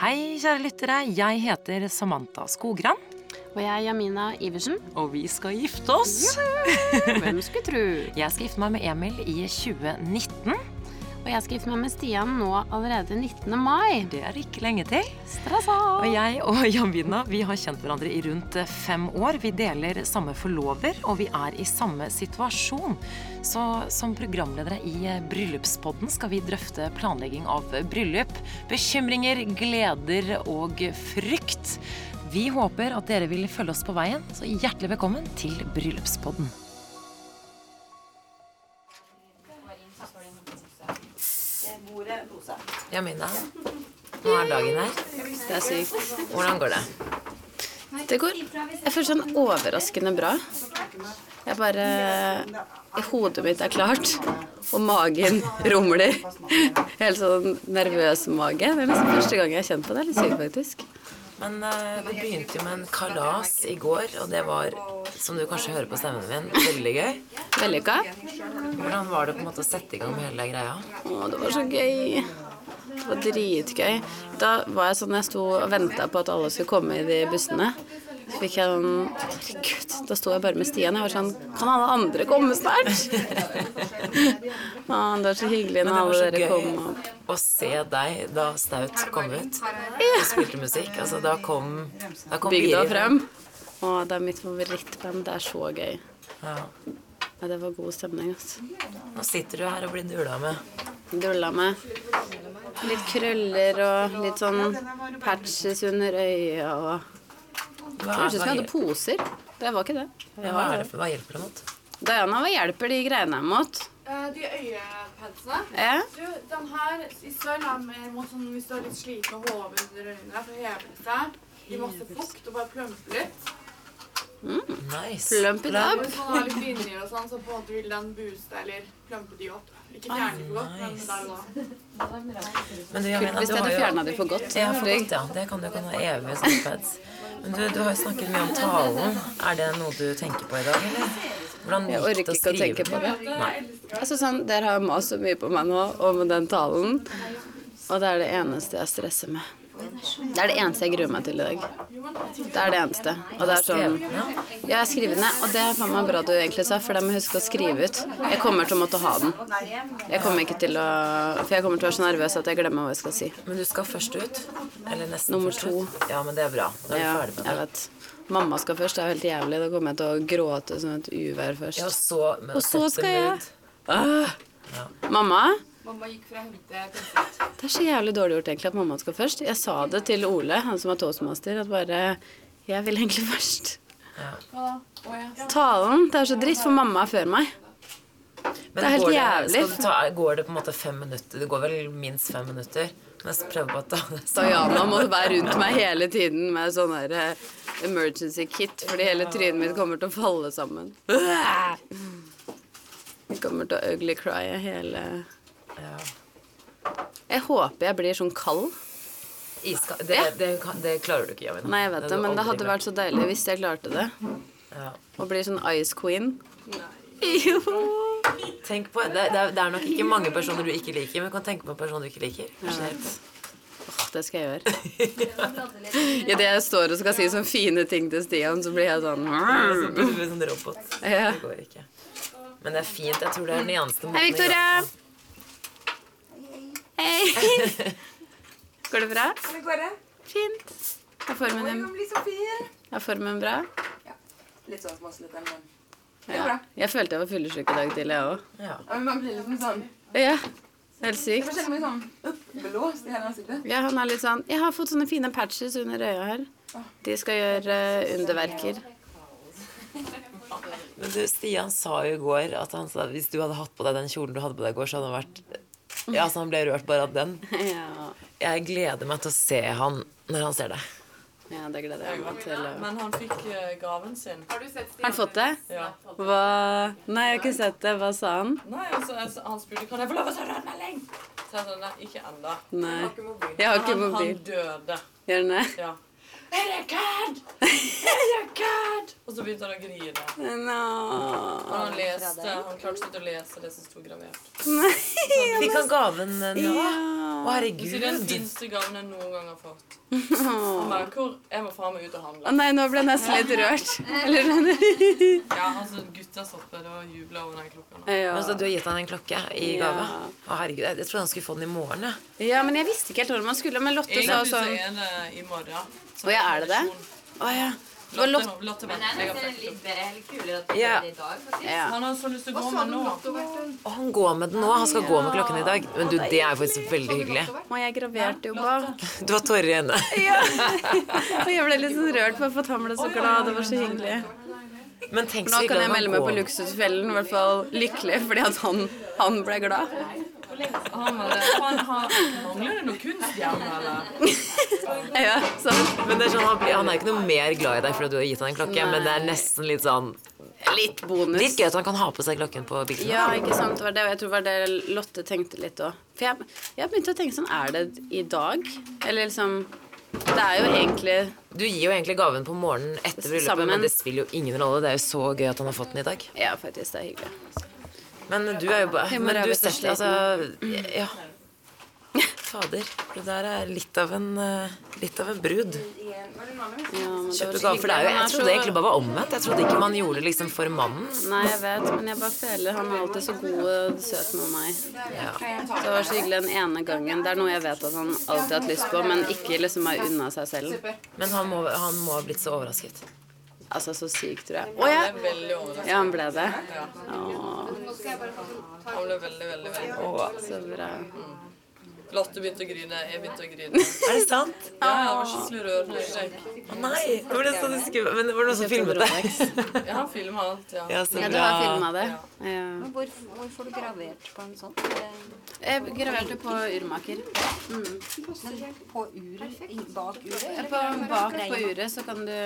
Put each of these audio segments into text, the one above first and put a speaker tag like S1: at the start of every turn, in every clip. S1: Hei, kjære lyttere. Jeg heter Samantha Skogran,
S2: Og jeg er Jamina Iversen.
S1: og vi skal gifte oss.
S2: Hvem skulle tro?
S1: Jeg skal gifte meg med Emil i 2019.
S2: Og jeg skal gifte meg med Stian nå allerede 19. mai.
S1: Det er ikke lenge til.
S2: Stressa!
S1: Og jeg og Jamina vi har kjent hverandre i rundt fem år. Vi deler samme forlover, og vi er i samme situasjon. Så som programledere i Bryllupspodden skal vi drøfte planlegging av bryllup, bekymringer, gleder og frykt. Vi håper at dere vil følge oss på veien, så hjertelig velkommen til Bryllupspodden. Jamina, nå er dagen her. Det er sykt. Hvordan går det?
S2: Det går Jeg føler sånn overraskende bra. Jeg bare Hodet mitt er klart, og magen rumler. Helt sånn nervøs mage. Det er liksom første gang jeg har kjent på det. Litt sykt, faktisk.
S1: Men eh, det begynte jo med en kalas i går, og det var, som du kanskje hører på stemmen min, veldig gøy.
S2: Vellykka.
S1: Hvordan var det på en måte å sette i gang med hele greia?
S2: Å, det var så gøy. Det var dritgøy. Da var jeg sånn jeg sto og venta på at alle skulle komme i de bussene. Så fikk jeg sånn Herregud, da sto jeg bare med Stian. Jeg var sånn Kan alle andre komme snart? Å, det var så hyggelig når alle
S1: Men det
S2: dere
S1: var så
S2: kom opp.
S1: Å se deg da Staut kom ut og spilte musikk. Altså, da kom, da kom
S2: Bygda
S1: Biri
S2: frem. Å, det er mitt favorittband. Det er så gøy.
S1: Ja.
S2: Ja, det var god stemning, altså.
S1: Nå sitter du her og blir dula med.
S2: Dulla med litt krøller og litt sånn patches under øya og
S1: Hva er,
S2: Høres ut
S1: hva,
S2: som jeg hadde
S1: hjel-
S2: poser. Det var ikke det.
S1: ja, hva, er det for, hva hjelper det mot?
S2: Diana, hva hjelper de greiene jeg mot?
S3: Eh, De øyepadsene.
S2: Ja.
S3: Du, den her i sør er mer mot sånn hvis du har litt slike og hoven under øynene, så hever det seg. I masse fukt og bare plumper litt.
S1: Nice.
S2: Plump it up.
S3: Og hvis man har litt linjer og sånn, så på en måte vil den booste eller plumpe de opp. Ikke fjerne de for godt, men
S1: nice.
S3: der og da.
S1: Men du, Jamina,
S2: Hvis
S1: du
S2: jeg
S1: har
S2: hadde
S1: jo
S2: fjerna det for godt.
S1: Ja, for godt, ja. Det kan du kan ha evig samvittighet. Men du, du har jo snakket mye om talen. Er det noe du tenker på i dag, eller? Hvordan
S2: Jeg
S1: gikk det
S2: orker ikke å tenke på det.
S1: Nei.
S2: Altså sånn, Dere har mast så mye på meg nå om den talen, og det er det eneste jeg stresser med. Det er det eneste jeg gruer meg til i dag. Det er det eneste. Og det er sånn
S1: Skrevet ned?
S2: Ja, jeg skriver ned, og det er faen meg bra du egentlig sa, for det må jeg huske å skrive ut. Jeg kommer til å måtte ha den. Jeg kommer ikke til å For jeg kommer til å være så nervøs at jeg glemmer hva jeg skal si.
S1: Men du skal først ut? Eller nesten
S2: Nummer
S1: først
S2: to.
S1: ut? Ja, men det er bra. Da er vi
S2: Ja,
S1: ferdig med
S2: jeg
S1: det.
S2: vet. Mamma skal først. Det er jo helt jævlig. Da kommer jeg til å gråte som et uvær først.
S1: Ja, og så, men
S2: Og så
S1: sette
S2: skal jeg
S1: mood.
S2: Ah. Mamma,
S3: Mamma gikk fra hente til
S2: det er så jævlig dårlig gjort egentlig at mamma skal først. Jeg sa det til Ole, han som er toastmaster, at bare Jeg vil egentlig først. Talen. Det er så dritt, for mamma er før meg.
S1: Men
S2: er helt
S1: går
S2: jævlig.
S1: Skal du ta, går det på en måte fem minutter? Det går vel minst fem minutter? Men jeg skal prøve på å ta det sammen.
S2: Diana må være rundt meg hele tiden med sånn her eh, emergency kit, fordi hele trynet mitt kommer til å falle sammen. Jeg kommer til å ugly crye hele
S1: Ja.
S2: Jeg håper jeg blir sånn kald.
S1: Iska, det, det, kan- det klarer du ikke, Jamina.
S2: Nei, jeg vet det,
S1: hadde du
S2: men det
S1: aldri
S2: hadde vært så deilig hvis jeg klarte det.
S1: klart. ja.
S2: Å bli sånn ice queen. Jo.
S1: Tenk på, det, det, er, det er nok ikke mange personer du ikke liker, men du kan tenke på en person du ikke liker.
S2: Åh, Det skal jeg gjøre. Idet jeg står og skal si sånne fine ting til Stian, så blir jeg sånn
S1: Så blir du en sånn robot.
S2: Ja.
S1: Det går ikke. Men det er fint. Jeg tror det er den eneste måten å
S2: Hei, Victoria!
S1: gjøre det på.
S2: Hei. Går det bra?
S4: Hvordan går det?
S2: Fint. Er formen,
S4: Oi,
S2: din-
S4: den blir så fin.
S2: er formen bra?
S4: Litt sånn småsliten, men
S2: Ja. Jeg følte jeg var fyllesyk i dag tidlig, jeg òg.
S1: Ja.
S4: Ja, men Man blir liksom sånn
S2: Ja. Helt
S4: Jeg
S2: sykt.
S4: kjenner meg sånn oppblåst i hele ansiktet.
S2: Ja, han er litt sånn Jeg har fått sånne fine patches under øya her. De skal gjøre eh, underverker.
S1: Men du, Stian sa jo i går at han sa, hvis du hadde hatt på deg den kjolen du hadde på deg i går, så hadde han vært Ja, så han ble rørt bare av den.
S2: Ja.
S1: Jeg gleder meg til å se han når han ser deg.
S2: ja, det gleder jeg meg til. å-
S5: Men han fikk eh, gaven sin.
S3: Har du sett
S2: Har han fått det?
S5: Ja.
S2: Hva Nei, jeg har ikke sett det. Hva sa han?
S5: Nei, altså, altså, Han spurte kan jeg få lov å ta den med lenge. Så jeg sa nei, ikke ennå.
S2: Nei.
S4: Ikke mobil.
S2: Jeg har ikke
S5: Han,
S2: mobil.
S5: han døde.
S2: Gjør den det?
S5: Ja. Er det kødd?! Er det kødd?! Og så begynte han å grine. Og
S2: Nå.
S5: han leste, han klarte ikke å lese det som sto gravert.
S1: Fikk han gaven eh, nå? Å,
S5: Du sier det er den
S1: herregud.
S5: fineste gaven jeg noen gang har fått. Han bare, hvor, Jeg må faen meg ut og handle.
S2: Å nei, nå ble jeg nesten litt rørt. Eller sånn.
S5: Ja, altså, Gutta satt der og jubla over den klokka. nå.
S2: Ja.
S1: Altså, du har gitt han en klokke i
S2: Ja.
S1: gave? Å, herregud, jeg, jeg trodde han skulle få den i morgen. jeg.
S2: ja, men jeg visste ikke helt hvordan man skulle. Men Lotte sa
S5: Egentlig så
S2: sånn
S5: er det i morgen.
S2: Å ja, er det det? Å ja. Det var Lotte.
S5: Lotte, Lotte
S6: Men
S5: vet,
S6: det er
S5: jeg har
S6: nesten
S5: sagt
S6: litt
S5: det.
S6: bedre, eller kulere at det
S1: Ja.
S6: er i dag, faktisk.
S2: Ja.
S5: Han har så lyst til å gå med nå.
S1: Å, han går med den nå. Han skal gå med klokken i dag. Men du, det er jo faktisk veldig hyggelig.
S2: Og jeg graverte jo bak.
S1: Du har tårer i øynene.
S2: Og jeg ble litt sånn rørt på at han ble så glad. Det var så hyggelig.
S1: Men tenk
S2: Nå
S1: så
S2: kan
S1: hyggelig at
S2: jeg
S1: han
S2: melde meg på
S1: går.
S2: Luksusfellen, i hvert fall lykkelig, fordi at han, han ble glad.
S5: Han var det. Han har, mangler det noe kunst hjemme, eller?
S2: Ja, så
S1: Men det er sånn, han, blir, han er ikke noe mer glad i deg fordi du har gitt han en klokke, men det er nesten litt sånn
S2: litt
S1: Litt
S2: bonus.
S1: gøy at han kan ha på seg klokken på bilen.
S2: Ja, ikke sant. Det var det, og jeg tror det var det Lotte tenkte litt òg. For jeg, jeg begynte å tenke sånn, er det i dag? Eller liksom Det er jo egentlig
S1: Du gir jo egentlig gaven på morgenen etter bryllupet,
S2: Sammen.
S1: men det spiller jo ingen rolle. Det er jo så gøy at han har fått den i dag.
S2: Ja, faktisk, det er hyggelig.
S1: Men du er jo bare
S2: Jeg må
S1: Men du
S2: ræve så
S1: setter altså Ja. Fader. Det der er litt av en eh, Litt av en brud.
S2: Ja, men det var
S1: Kjøpe
S2: så
S1: gave. For det er jo
S2: hyggelig. Han
S1: Jeg
S2: er
S1: trodde
S2: så-
S1: egentlig bare var omvendt. Jeg trodde ikke man gjorde det liksom for mannen.
S2: Nei, jeg vet, men jeg bare føler han er alltid så god og søt med meg.
S1: Ja.
S2: Så det var så hyggelig den ene gangen. Det er noe jeg vet at han alltid har hatt lyst på, men ikke liksom har unna seg selv.
S1: Men han må, han må ha blitt så overrasket.
S2: Altså, så sykt, tror jeg. Å ja!
S5: Det er veldig overraskende.
S2: Ja, han ble det.
S5: Ja.
S2: Åh,
S5: Han ble veldig, veldig, veldig.
S2: så bra.
S5: Lotte begynte å grine, jeg begynte å grine.
S1: Er det sant?
S5: Ja, jeg var skikkelig rørt.
S1: Å nei! Det var det sånn det skulle- Men det var noen som filmet det.
S5: Ja, han filma alt, ja.
S1: Ja, så
S2: Ja, du har
S1: bra.
S2: filma det? Ja.
S7: Hvor, hvor får du gravert på en sånn? Det-
S2: Jeg graverte på urmaker. Mm.
S7: Sånn På uret? I- Bak uret?
S2: På, bak på uret så kan du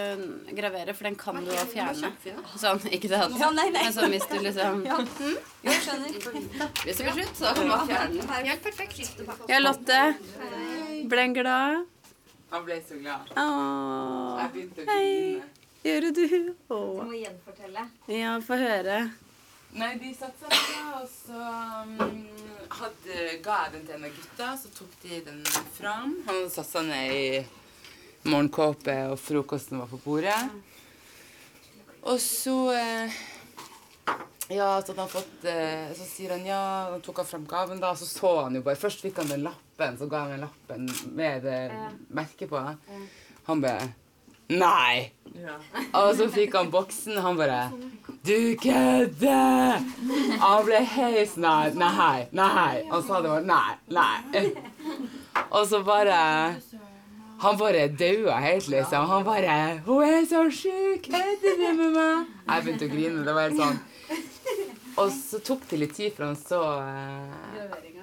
S2: gravere, for den kan du jo fjerne. Sånn, ikke sant?
S7: Ja, nei, nei.
S2: Men så hvis du liksom
S7: Jo, jeg skjønner.
S2: Hvis det blir slutt, så kan du bare fjerne den.
S6: Helt perfekt.
S2: Ja, Lotte. Ble en glad?
S4: Han ble så glad.
S2: Åh,
S4: Jeg begynte å grine.
S2: gjorde du?
S7: Du
S2: Åh.
S7: må gjenfortelle.
S2: Ja, få høre.
S4: Nei, de satte seg ned, og så um, hadde, ga jeg den til en av gutta. Så tok de den fram. Han hadde satt seg ned i morgenkåpe, og frokosten var på bordet. Og så eh, Ja, så hadde han fått eh, Så sier han ja, og tok han fram gaven, da. Så så han jo bare Først fikk han den lappen, så ga han den lappen med det merket på. Han bare Nei! Og så fikk han boksen, han bare Du kødder! Han ble helt sånn Nei, nei, nei. Han sa det var nei, nei. Og så bare Han bare daua helt, liksom. Han bare 'Hun er så sjuk! Kødder du med meg?' Jeg begynte å grine. Det var helt sånn. Og så tok det litt tid før han så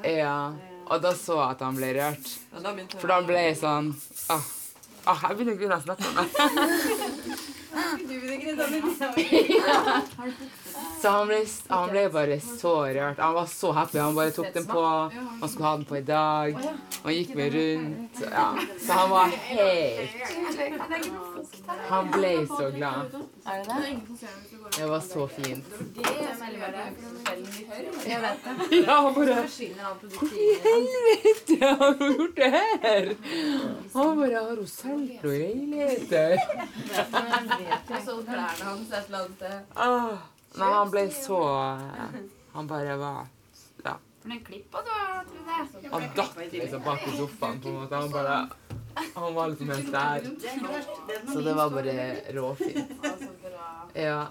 S4: eh, Ja. Og da så jeg at han ble rørt.
S5: ja da begynte
S4: For da ble jeg sånn Åh, åh, jeg begynner å grine av å snakke om det. Så han ble, han ble bare så rørt. Han var så happy. Han bare tok den på. Han skulle ha den på i dag. Han gikk meg rundt. Ja. Så han var helt Han ble så glad. Det var så fint. Ja, han bare Hvor i helvete har hun gjort det her? Han bare Har hun solgt noen leiligheter? Åh, Ah, Nei, han ble så Han bare var Ja. Han datt liksom bak i sofaen, på en måte. Han bare Han var liksom helt der. Så det var bare råfint. Ja.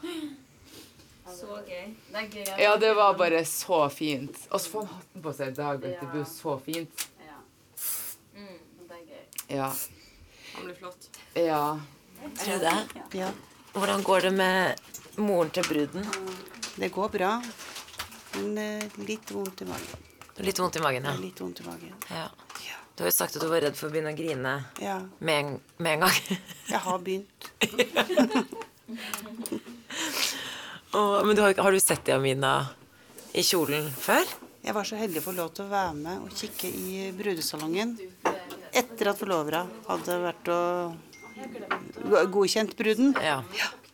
S6: Så gøy. Det er gøy.
S4: Ja, det var bare så fint. Og så får han hatten på seg i dag, vet du. Det blir jo så fint.
S5: Mm,
S4: Ja.
S5: han blir flott.
S4: Ja.
S1: Tror du det? Hvordan går det med moren til bruden?
S8: Det går bra, men eh, litt vondt i magen.
S1: Litt vondt i magen, ja.
S8: Litt vondt i magen.
S1: ja. Du har jo sagt at du var redd for å begynne å grine
S8: Ja,
S1: med en, med en gang.
S8: jeg har begynt.
S1: Åh, men du har, har du sett Jamina i kjolen før?
S8: Jeg var så heldig å få lov til å være med og kikke i brudesalongen etter at forlovera hadde vært og go- godkjent bruden.
S1: Ja.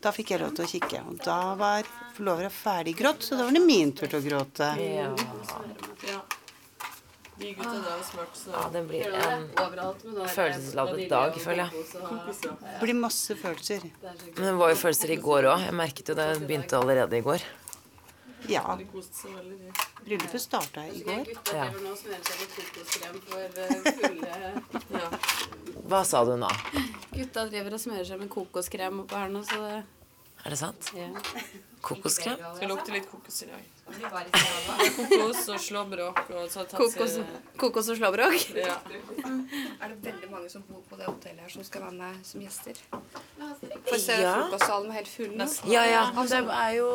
S8: Da fikk jeg lov til å kikke. Og da var forlovera ferdig grått, så da var det min tur til å gråte.
S1: Ja.
S5: De gutta der var smart, så
S1: ja, det blir en følelsesladet dag, føler jeg.
S8: Det blir masse følelser.
S1: Men det var jo følelser i går òg. Jeg merket jo det begynte allerede i går.
S8: Ja.
S5: de koste seg veldig. de.
S8: Bryllupet starta i går.
S1: Ja.
S2: Gutta
S1: Hva sa du nå?
S2: driver og smører seg med kokoskrem oppå her nå, så det
S1: Er det sant?
S2: ja.
S1: Kokoskrem?
S5: Skal lukte litt kokos i dag. Kokos og slåbrok og så tatt
S2: kokos, kokos og slåbrok.
S5: Ja.
S9: Er det veldig mange som bor på det hotellet her som skal være med som gjester? For se, frokostsalen var helt full nå.
S1: Ja, ja.
S2: Altså, det er jo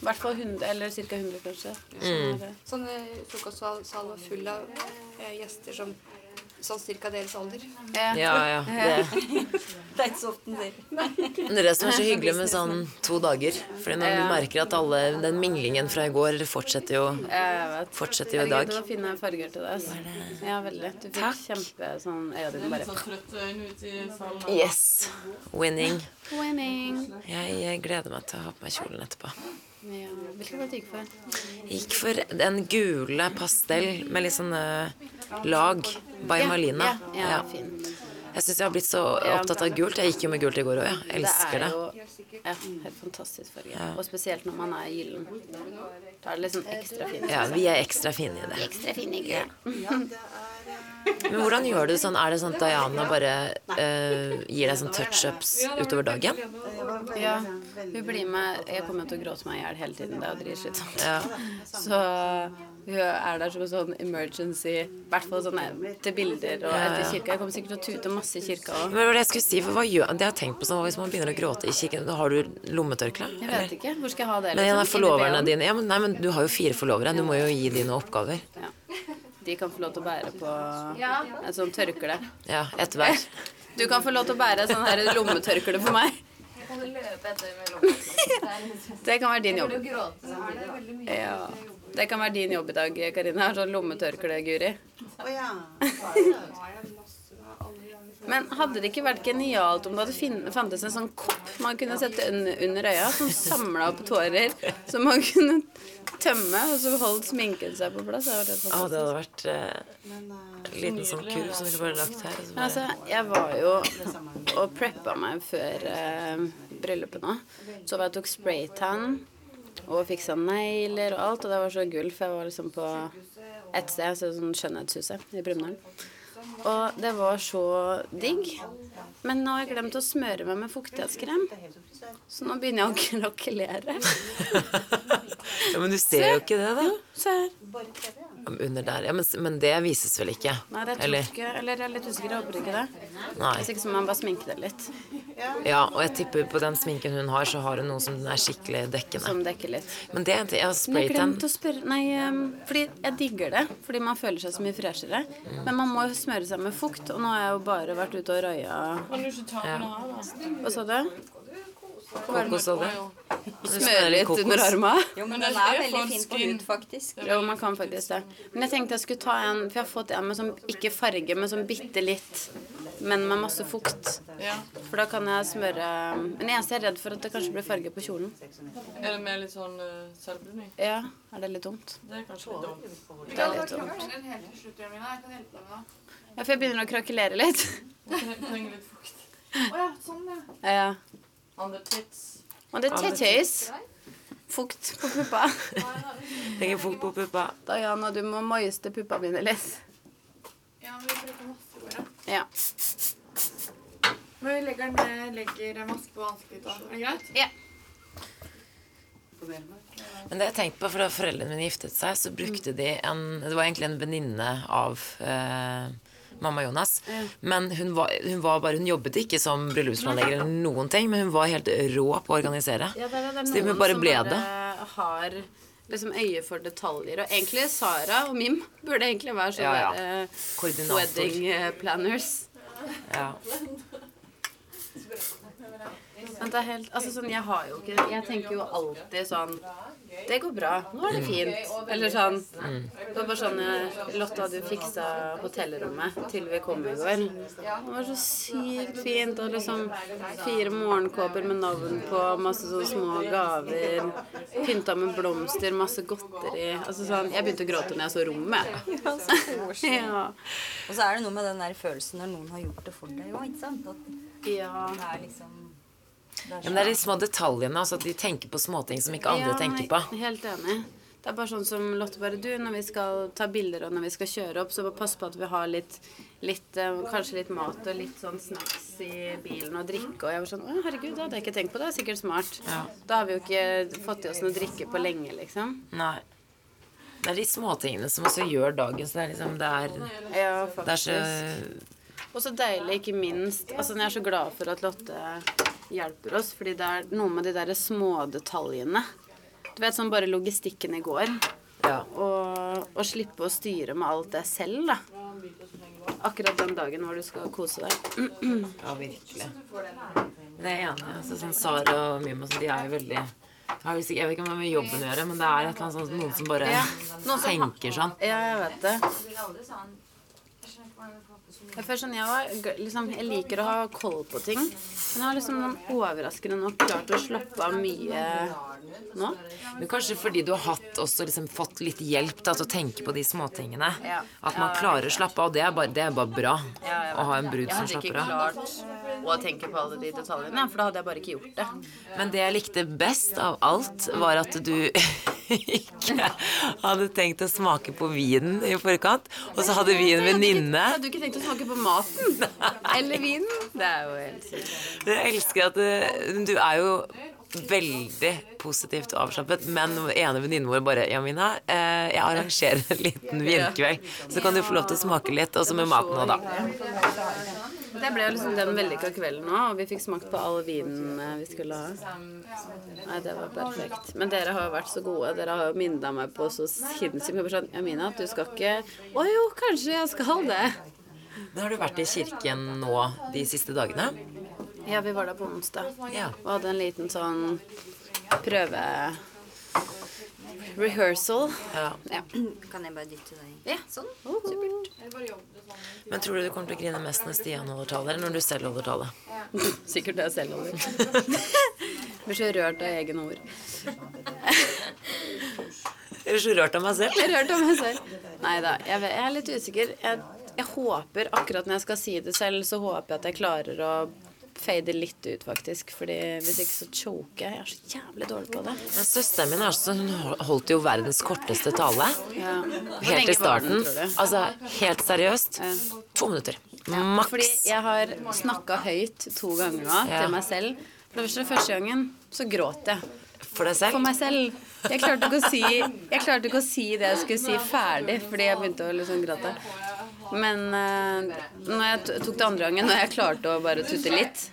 S2: i hvert fall 100, eller ca. 100, kanskje. som er det.
S9: Sånn eh, frokostsal var full av eh, gjester som sånn cirka deres alder.
S1: Ja, ja. Det.
S7: Det er ikke så ofte den sier.
S1: Men Det er det som er så hyggelig med sånn to dager. Fordi når du merker at alle den minglingen fra i går fortsetter jo,
S2: Jeg Eh, vet.
S1: fortsetter jo i dag.
S2: Herregud, det var fine farger til deg. altså. Ja, veldig. Du fikk kjempe sånn øya dine bare
S5: Litt sånn trøtte øyne ute i salen.
S1: Yes. Winning.
S2: Winning.
S1: Jeg eh, gleder meg til å ha på meg kjolen etterpå.
S2: Ja. Hvilken var det du gikk for?
S1: Gikk for den gule pastell med litt sånne lag by Malina.
S2: Ja, ja,
S1: Ja.
S2: fin.
S1: Jeg syns jeg har blitt så opptatt av gult. Jeg gikk jo med gult i går òg, jeg. Elsker det.
S2: Det er jo ja, helt fantastisk farge. Og spesielt når man er gyllen. Da er det liksom ekstra fint.
S1: Ja, vi er ekstra fine i det.
S2: Ekstra fin i gull.
S1: Men hvordan gjør du sånn? Er det sånn at Diana bare eh, gir deg sånn touch-ups utover dagen?
S2: Ja, hun blir med Jeg kommer til å gråte meg i hjel hele tiden. Det er jo dritslitsomt.
S1: Ja.
S2: Så hun er der som en sånn emergency, i hvert fall sånn til bilder og etter kirka. Jeg kommer sikkert til å tute masse i kirka òg.
S1: Men det var det jeg skulle si, for hva gjør Det jeg har tenkt på sånn, hvis man begynner å gråte i kirken, da har du lommetørkle?
S2: Jeg
S1: eller?
S2: vet ikke. Hvor skal jeg ha det?
S1: Men en av
S2: liksom?
S1: forloverne
S2: Inni BH-en?
S1: dine ja, men, Nei, men du har jo fire forlovere. Du må jo gi de noen oppgaver.
S2: De kan få lov til å bære på en sånn tørkle.
S1: Ja, ett hver.
S2: Du kan få lov til å bære sånn her lommetørkle for meg.
S6: Kan du løpe etter med lommen?
S2: Det kan være din jobb.
S6: Du gråter samtidig, da.
S2: Ja. Det kan være din jobb i dag, Karina. Sånn lommetørkle, Guri. Men hadde det ikke vært genialt om det hadde fin fantes en sånn kopp man kunne sette un under øya, som samla opp tårer, som man kunne tømme, og så holdt sminken seg på plass? Det hadde vært helt
S1: Å, det
S2: fantastisk.
S1: hadde vært eh, en liten sånn kurv som du bare lagt her. og så
S2: Men
S1: bare-
S2: altså, jeg var jo og preppa meg før eh, bryllupet nå. Så var jeg og tok spraytan og fiksa negler og alt, og det var så gull, for jeg var liksom på et sted, så sånn Skjønnhetshuset i Brumunddal. Og det var så digg. Men nå har jeg glemt å smøre meg med fuktighetskrem, så nå begynner jeg å krakelere.
S1: Ja, men du ser jo ikke det, da.
S2: Se her.
S1: Ja, men Under der. Ja, men, s- men det vises vel ikke?
S2: Nei, det tror
S1: Eller?
S2: jeg ikke. Eller jeg er litt usikker, jeg håper ikke det.
S1: Nei.
S2: Hvis ikke så må man bare sminke det litt,
S1: Ja, og jeg tipper på den sminken hun har, så har hun noe som er skikkelig dekkende.
S2: som dekker litt.
S1: Men det er en ting. Ja,
S2: Men jeg
S1: spraytan.
S2: glemte å spørre Nei, ehm, fordi jeg digger det. Fordi man føler seg så mye freshere. Men man må jo smøre seg med fukt, og nå har jeg jo bare vært ute og røya
S5: Kan du ikke ta med noe her, da?
S2: Hva sa du?
S1: Kokosolje.
S2: Smøre litt under arma?
S7: Jo, men
S5: Men det
S7: den
S5: er
S7: er veldig
S5: for
S7: fin på
S5: skin.
S7: hud, faktisk.
S2: Jo, man kan faktisk det. Men jeg tenkte jeg skulle ta en For jeg har fått en med sånn ikke farge, men sånn bitte litt. Men med masse fukt.
S5: Ja.
S2: For da kan jeg smøre ehm, Men det eneste jeg er redd for, at det kanskje blir farge på kjolen.
S5: Er det med litt sånn uh, selvbruning?
S2: Ja, er det litt dumt?
S5: Det er kanskje litt dumt.
S3: Vi kan ta en helt til slutt, Jamina. Jeg kan hjelpe deg med det.
S2: Ja, for jeg begynner å krakelere litt.
S5: Jeg trenger litt fukt.
S3: Å ja, sånn, ja.
S2: Ja.
S5: Andre tits.
S2: Og det er tetøys. Fukt på puppa.
S1: Trenger fort på puppa.
S2: Diana, du må moiste puppa mine litt.
S3: Ja, men vi bruker masse ord, ja.
S2: Ja.
S3: Men vi legger, den ned, legger maske på ansiktet. da. Er det greit?
S1: Men det jeg tenkte på, for da foreldrene mine giftet seg, så brukte de en Det var egentlig en venninne av eh, mamma Jonas. Men hun var, hun var bare Hun jobbet ikke som bryllupsplanlegger eller noen ting, men hun var helt rå på å organisere. Så de bare ble det.
S2: har liksom øye for detaljer. Og egentlig Sara og Mim burde egentlig være sånne
S1: Ja, ja.
S2: der, eh,
S1: Koordinator.
S2: wedding eh, planners.
S1: Ja.
S2: Men det er helt Altså sånn, jeg har jo ikke Jeg tenker jo alltid sånn Det går bra. Nå er det fint. Eller sånn Det var bare sånn eh, Lotta, du fiksa hotellrommet til vi kom i går. Det var så sykt fint. Og liksom fire morgenkåper med navn på, masse sånne små gaver. Pynta med blomster, masse godteri. Altså sånn Jeg begynte å gråte når jeg så rommet. jeg.
S7: Ja, så koselig.
S2: Ja.
S7: Og så er det noe med den der følelsen når noen har gjort det for deg òg, ikke sant? At det er liksom det er
S1: Ja, men det er de små detaljene. altså At de tenker på småting som ikke andre
S2: Ja,
S1: tenker
S2: nei,
S1: på.
S2: Helt enig. Det er bare sånn som Lotte bare du, når vi skal ta bilder og når vi skal kjøre opp, så bare pass på at vi har litt, litt eh, kanskje litt mat og litt sånn snacks i bilen og drikke. Og jeg var sånn å herregud, det hadde jeg ikke tenkt på, det er sikkert smart. Da har vi jo ikke fått i oss noe drikke på lenge, liksom.
S1: Nei. Det er de småtingene som også gjør dagen. Så det er liksom Det er,
S2: Ja,
S1: det er så
S2: faktisk. Og så deilig, ikke minst. Altså, jeg er så glad for at Lotte hjelper oss, fordi det er noe med de derre smådetaljene. Du vet sånn bare logistikken i går.
S1: Ja.
S2: Og, og slippe å styre med alt det selv, da. Akkurat den dagen hvor du skal kose deg.
S1: Ja, virkelig. Det er jeg enig. i. Altså, sånn Sara og Mimo så de er jo veldig jeg har jo sikkert- jeg vet ikke om det har med jobben å gjøre, men det er et eller annet sånn, noen som bare
S2: Ja, noen som-
S1: tenker sånn.
S2: Ja, jeg vet det.
S6: Det blir aldri sånn Jeg skjønner ikke hvordan du får på så mye
S2: Jeg, føler sånn, jeg, var, g- liksom, jeg liker å ha koll på ting, men jeg har liksom sånn overraskende nok klart å slappe av mye nå.
S1: Men kanskje fordi du har hatt også liksom fått litt hjelp da, til å tenke på de småtingene. At man klarer å slappe av. og Det er bare, det er bare bra
S2: Ja, jeg
S1: å ha en brud
S2: Jeg
S1: som
S2: hadde ikke
S1: slapper av.
S2: klart å tenke på alle de detaljene, for da hadde jeg bare ikke gjort det.
S1: Men det jeg likte best av alt, var at du ikke hadde tenkt å smake på vinen i forkant. Og så hadde vi en venninne.
S2: Hadde du ikke tenkt å smake på maten? Eller vinen? Det er jo helt sykt.
S1: Jeg elsker at eh, du er jo veldig positivt avslappet, men ene venninnen vår bare Ja, Mina, eh, jeg arrangerer en liten vinkveld, så kan du få lov til å smake litt, også med maten òg, da.
S2: Det ble jo liksom den vellykka kvelden nå, og vi fikk smakt på all vinen eh, vi skulle ha. Nei, det var perfekt. Men dere har jo vært så gode. Dere har jo minna meg på så sinnssykt mye. Bare Sånn, ja, Mina, du skal ikke Å jo, kanskje jeg skal det.
S1: Men har du vært i kirken nå de siste dagene?
S2: Ja, vi var der på onsdag
S1: Ja.
S2: og hadde en liten sånn prøve Rehearsal.
S1: ja.
S2: Ja.
S7: Kan jeg bare dytte deg i?
S2: Ja.
S7: Sånn.
S1: Men tror du du kommer til å grine mest når Stian holder tale, eller når du selv holder tale?
S2: Sikkert det jeg selv holder. Blir så rørt av egne ord.
S1: Jeg er så rørt av meg selv.
S2: Jeg er rørt av meg selv. Nei da, jeg, vet- jeg er litt usikker. Jeg, jeg håper akkurat når jeg skal si det selv, så håper jeg at jeg klarer å fade litt ut, faktisk. Fordi hvis ikke så choker jeg. Jeg er så jævlig dårlig på det.
S1: Men søsteren min er sånn, hun holdt jo verdens korteste tale.
S2: Ja. Hvor
S1: Helt i
S2: lenge var den,
S1: starten.
S2: tror du?
S1: Altså, helt seriøst. To minutter.
S2: Fordi
S1: Maks.
S2: jeg har snakka høyt to ganger nå
S1: Ja.
S2: til meg selv. For det første, første gangen så gråt jeg.
S1: For deg selv.
S2: For meg selv. Jeg klarte ikke å si, jeg klarte ikke å si det jeg skulle si ferdig, fordi jeg begynte å liksom gråte. Men eh, når jeg t- tok det andre gangen, når jeg klarte å bare tutte litt,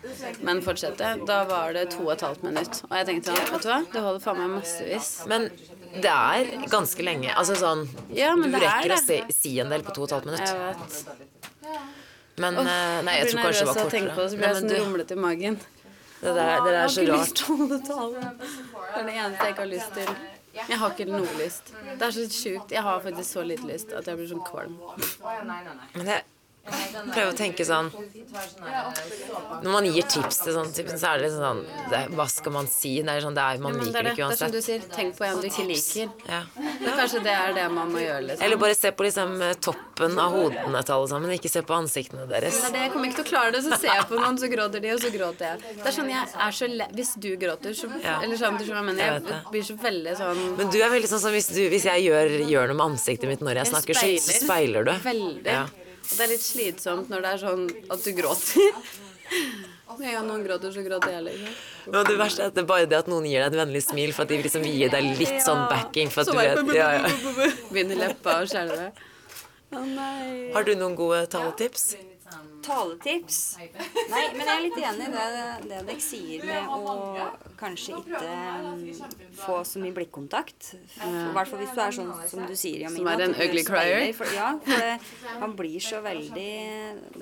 S2: men fortsette, da var det to og et halvt minutt. Og jeg tenkte sånn, vet du hva, det holder faen meg massevis.
S1: Men det er ganske lenge. Altså sånn
S2: Ja, men
S1: Du
S2: det er
S1: rekker å
S2: det.
S1: si, si en del på to og et halvt minutt.
S2: Jeg vet.
S1: Men eh, Nei, jeg
S2: blir
S1: tror kanskje det
S2: nervøs
S1: var
S2: av å tenke på
S1: kortere.
S2: det, så blir
S1: Nei,
S2: jeg
S1: men
S2: sånn
S1: du,
S2: rumlete i magen.
S1: det der, det der er så
S2: Jeg har ikke lyst
S1: rart.
S2: til å holde talen. Det er det eneste jeg ikke har lyst til. Jeg har ikke noe lyst. Det er så sjukt. Jeg har faktisk så lite lyst at jeg blir sånn kvalm.
S1: Men jeg prøver å tenke sånn Når man gir tips til sånn typen, så er det liksom sånn det, er- Hva skal man si? Det er sånn, det er, man
S2: Men det
S1: liker det
S2: er det.
S1: ikke
S2: Det er som
S1: uansett.
S2: du sier. Tenk på en du ikke liker.
S1: Ja.
S2: Men kanskje det er det man må gjøre, liksom.
S1: Eller bare se på liksom eh, toppen av hodene til alle sammen. Ikke se på ansiktene deres.
S2: Det er det, jeg kommer ikke til å klare det, så ser jeg på noen, så gråter de, og så gråter jeg. Det er sånn, jeg er så le Hvis du gråter, så
S1: Ja.
S2: Eller sånn, du skjønner hva jeg
S1: Jeg vet
S2: mener. Jeg blir så veldig sånn
S1: Men du er veldig sånn som hvis, du, hvis jeg gjør, gjør noe med ansiktet mitt når jeg
S2: Jeg
S1: snakker, så, så speiler du.
S2: Veldig.
S1: Ja.
S2: Og det er litt slitsomt når det er sånn at du gråter. Når ja, noen gråter, så gråter jeg, liksom.
S1: Men det verste er at det er bare det at noen gir deg et vennlig smil, for at de liksom gir deg litt sånn backing. For at
S2: Så
S1: du
S2: bare
S1: vet, ja, ja.
S2: Begynner leppa å skjelve. Å nei.
S1: Har du noen gode taletips?
S7: Taletips? Nei, men jeg er litt enig i det, det dere sier med å kanskje ikke um, få så mye blikkontakt. I hvert fall hvis du er sånn som du sier, Jamina.
S2: Som er en
S7: at du
S2: ugly
S7: så veldig-
S2: crier.
S7: For, ja, for det, man blir så veldig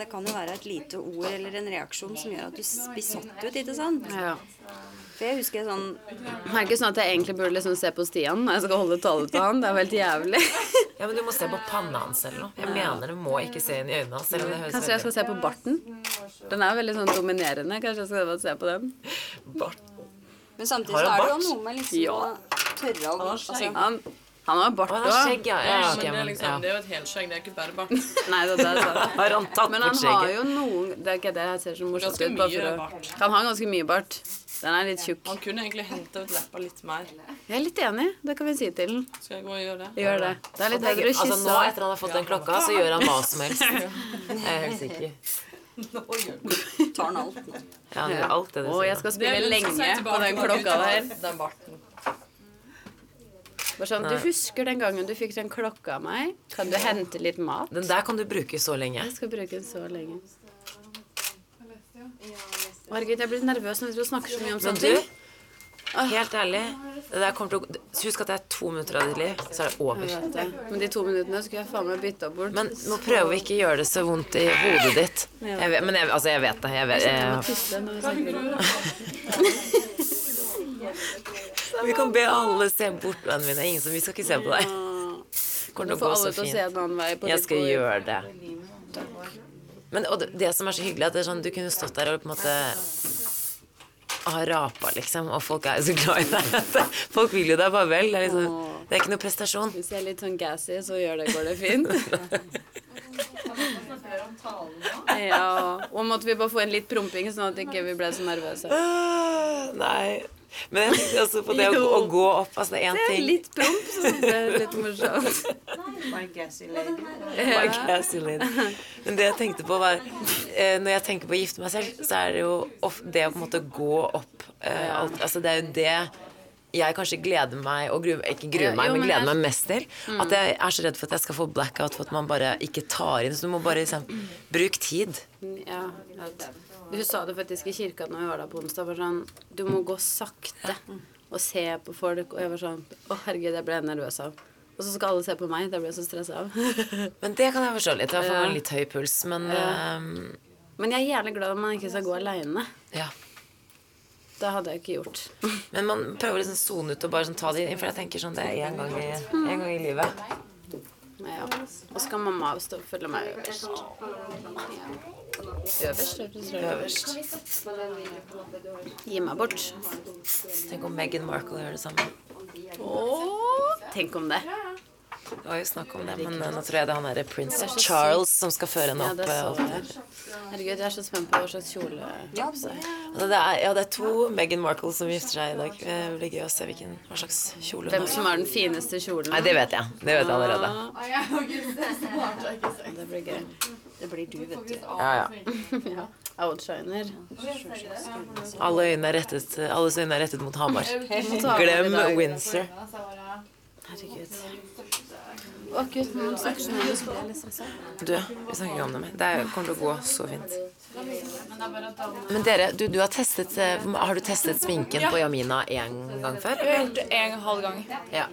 S7: Det kan jo være et lite ord eller en reaksjon som gjør at du s- blir satt ut, ikke sant?
S2: Ja.
S7: For jeg husker sånn
S2: Det er ikke sånn at jeg egentlig burde liksom se på Stian når jeg skal holde tale til han. Det er jo helt jævlig.
S1: Ja, men du må se på panna hans eller noe. Jeg mener du må ikke se inn i øynene hans. Selv om det høres
S2: Kanskje jeg skal se på barten? Den er jo veldig sånn dominerende. Kanskje jeg skal se på den?
S1: Bart.
S7: Men samtidig
S1: Har
S7: så
S1: han
S7: er det jo
S1: bart?
S7: noe med liksom
S2: Ja.
S7: å tørre å altså,
S2: Han, han har
S1: Å,
S2: bart
S1: det er
S2: òg.
S1: skjegg, ja. ja,
S5: Ja,
S1: ok,
S5: men det er
S1: men,
S5: liksom,
S1: ja.
S5: det er jo et helskjegg, det er ikke bare bart.
S2: Nei, det, det er sant.
S1: Har han tatt bort
S2: Altså. Men han har
S1: skjegget?
S2: jo noen Det er ikke det jeg ser som morsomt ut.
S5: Ganske
S2: bare
S5: mye
S2: for å-
S5: bart.
S2: Han har ganske mye bart. Den er litt tjukk.
S5: Han kunne egentlig hente ut leppa litt mer.
S2: Jeg er litt enig. Det kan vi si til den.
S5: Skal jeg gå og gjøre det?
S2: Gjør det. Det er litt
S1: Tenker-
S2: bedre å
S1: Altså, nå
S2: kysse han.
S1: etter han har fått den klokka, så gjør han hva som helst. Jeg er helt sikker.
S7: tar han alt.
S1: Ja, han gjør alt det du
S2: Å, jeg
S1: sier.
S2: skal spille
S5: liksom
S2: lenge på den klokka der.
S5: Den barten.
S2: Bare sånn, du husker den gangen du fikk den klokka av meg? Kan du hente litt mat?
S1: Den der kan du bruke så lenge.
S2: Jeg skal bruke den så lenge. Margit, jeg blir nervøs når vi snakker så mye om
S1: Men
S2: sånne
S1: du,
S2: ting. Ah.
S1: helt ærlig det der kommer til å... Husk at det er to minutter av ditt liv, så er det over.
S2: Jeg vet det. Men de to minuttene skulle jeg faen meg bytta bort.
S1: Men nå prøver vi ikke å gjøre det så vondt i hodet ditt. Jeg vet, men jeg, altså, jeg vet det. Jeg vet, jeg,
S2: Tisse når vi snakker om det.
S1: vi kan be alle se bort på vennene mine. Ingen som, vi skal ikke se på deg. Kommer til
S2: Du
S1: å
S2: får
S1: gå så
S2: alle til å se
S1: fint.
S2: en annen vei. På
S1: Jeg
S2: ditt
S1: skal
S2: bord.
S1: gjøre det. Men og det, det som er så hyggelig, at det er sånn, du kunne stått der og på en måte ha rapa, liksom. Og folk er jo så glad i deg. Folk vil jo deg bare vel. Det er, liksom, det er ikke noe prestasjon.
S2: Hvis jeg er litt sånn gassy, så gjør det, går det fint. ja, og måtte vi bare få inn litt promping, sånn at ikke vi ble så nervøse.
S1: Øh, Nei. Men jeg tenkte også på det å, gå- å gå opp. Altså, det er én
S2: Det er
S1: ting
S2: litt promp, så sånn det er litt morsomt.
S1: My classy lady. Men det jeg tenkte på var eh, Når jeg tenker på å gifte meg selv, så er det jo of- det å på en måte gå opp eh, alt, Altså det er jo det jeg kanskje gleder meg og gruer, Ikke gruer meg,
S2: jo,
S1: men
S2: men
S1: gleder
S2: jeg- Mm.
S1: meg mest til. At jeg er så redd for at jeg skal få blackout, for at man bare ikke tar inn. Så du må bare liksom Bruk tid.
S2: Ja, at- hun sa det faktisk i kirka når vi var der på onsdag, bare sånn Du må gå sakte og se på folk, og jeg var sånn Å, herregud, jeg ble nervøs av. Og så skal alle se på meg, det ble jeg så stressa av.
S1: Men det kan jeg forstå litt. Jeg får
S2: Ja.
S1: litt høy puls, men eh,
S2: Men jeg er gjerne glad om man ikke skal gå aleine.
S1: ja.
S2: Det hadde jeg ikke gjort.
S1: Men man prøver å liksom sone ut og bare sånn ta det inn. For jeg tenker sånn Det er én gang, i- en gang i livet.
S2: Men ja. Og så kan mamma stå og følge meg øverst. Øverst, øverst, øverst.
S1: Øverst.
S2: Gi meg bort.
S1: Tenk om Meghan Markle gjør det samme.
S2: Tenk om det.
S1: Det var jo snakk om det, men eh, nå tror jeg det er han derre prins Charles som skal føre henne
S2: Ja,
S1: opp.
S2: det
S1: eh,
S2: så
S1: opp
S2: jeg.
S1: der.
S2: Herregud, jeg er så spent på hva slags kjole
S7: Ja,
S1: Altså, det er, ja, det er to Meghan Markle som gifter seg i dag. Det blir gøy å se hvilken, hva slags kjole hun
S2: Hvem
S1: har.
S2: som er den fineste kjolen.
S1: Nei, det vet jeg. Det vet jeg allerede.
S2: Det blir gøy.
S7: det blir du, vet du.
S1: Ja, ja.
S2: Outshiner.
S1: Alle øyne er rettet, alles øyne er rettet mot Hamar.
S2: i
S1: Glem
S2: dag.
S1: Windsor.
S2: Herregud. Å, gud, man snakker så mye om det. liksom sånn.
S1: Du, vi snakker ikke om det mer. Det er- kommer til å gå så fint. Men dere, du, du har testet eh, Har du testet sminken på Jamina én gang før?
S5: Jeg har gjort det en halv gang.
S1: Ja.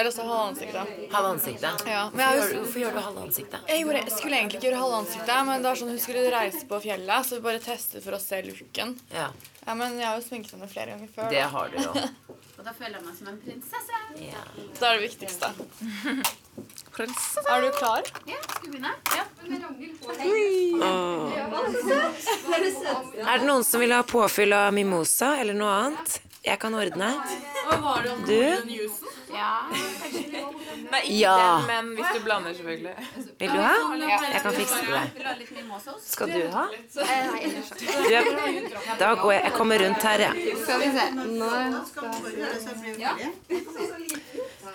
S5: Eller så halve ansiktet.
S1: Halve ansiktet?
S5: Ja, men
S1: Hvorfor gjør,
S5: jeg, har jo-
S1: du- hvorfor gjør du halve ansiktet?
S5: jeg, gjorde, jeg skulle egentlig ikke gjøre halve ansiktet, men det var sånn hun skulle reise på fjellet, så vi bare testet for å se looken.
S1: Ja,
S5: Ja, men jeg har jo sminket henne flere ganger før.
S1: det har du jo.
S2: Og da føler jeg meg som en prinsesse.
S5: Det er det viktigste. Er du klar?
S1: Er det noen som vil ha påfyll av mimosa eller noe annet? Jeg kan ordne. Du?
S5: Nei, ikke
S1: Ja.
S5: den, men hvis du blander, selvfølgelig.
S1: Vil du ha? Jeg kan fikse det til deg. Skal du ha?
S5: Eh,
S1: Du er- Da går jeg. Jeg kommer rundt her, jeg.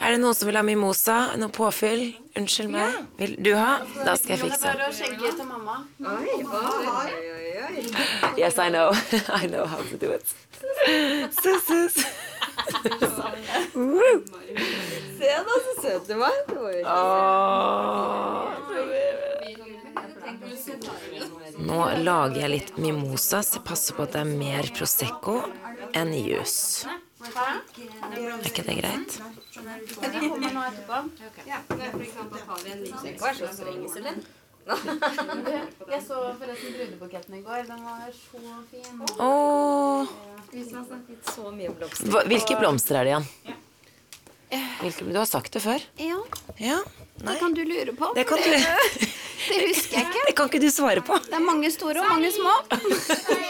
S1: Er det noen som vil ha mimosa? Noe påfyll? Unnskyld meg. Vil du ha? Da skal jeg fikse.
S2: Skjegget til mamma.
S1: Yes, I know. I know how to do it. Sus, sus. Woo.
S7: Se da, så søt du var.
S1: Åh. Nå lager jeg litt mimosas. Jeg passer på at det er mer Prosecco enn juice. Er ikke det greit?
S2: Jeg så forresten brudebuketten i går. Den var så fin.
S1: Åh,
S7: Så mye blomster.
S1: hva- hvilke blomster er det igjen? Hvilke, du har sagt det før.
S10: Ja,
S1: Ja,
S10: det kan du lure på.
S1: det kan du.
S10: Det husker jeg ikke.
S1: Det kan ikke du svare på.
S10: Det er mange store og mange små.
S2: eh,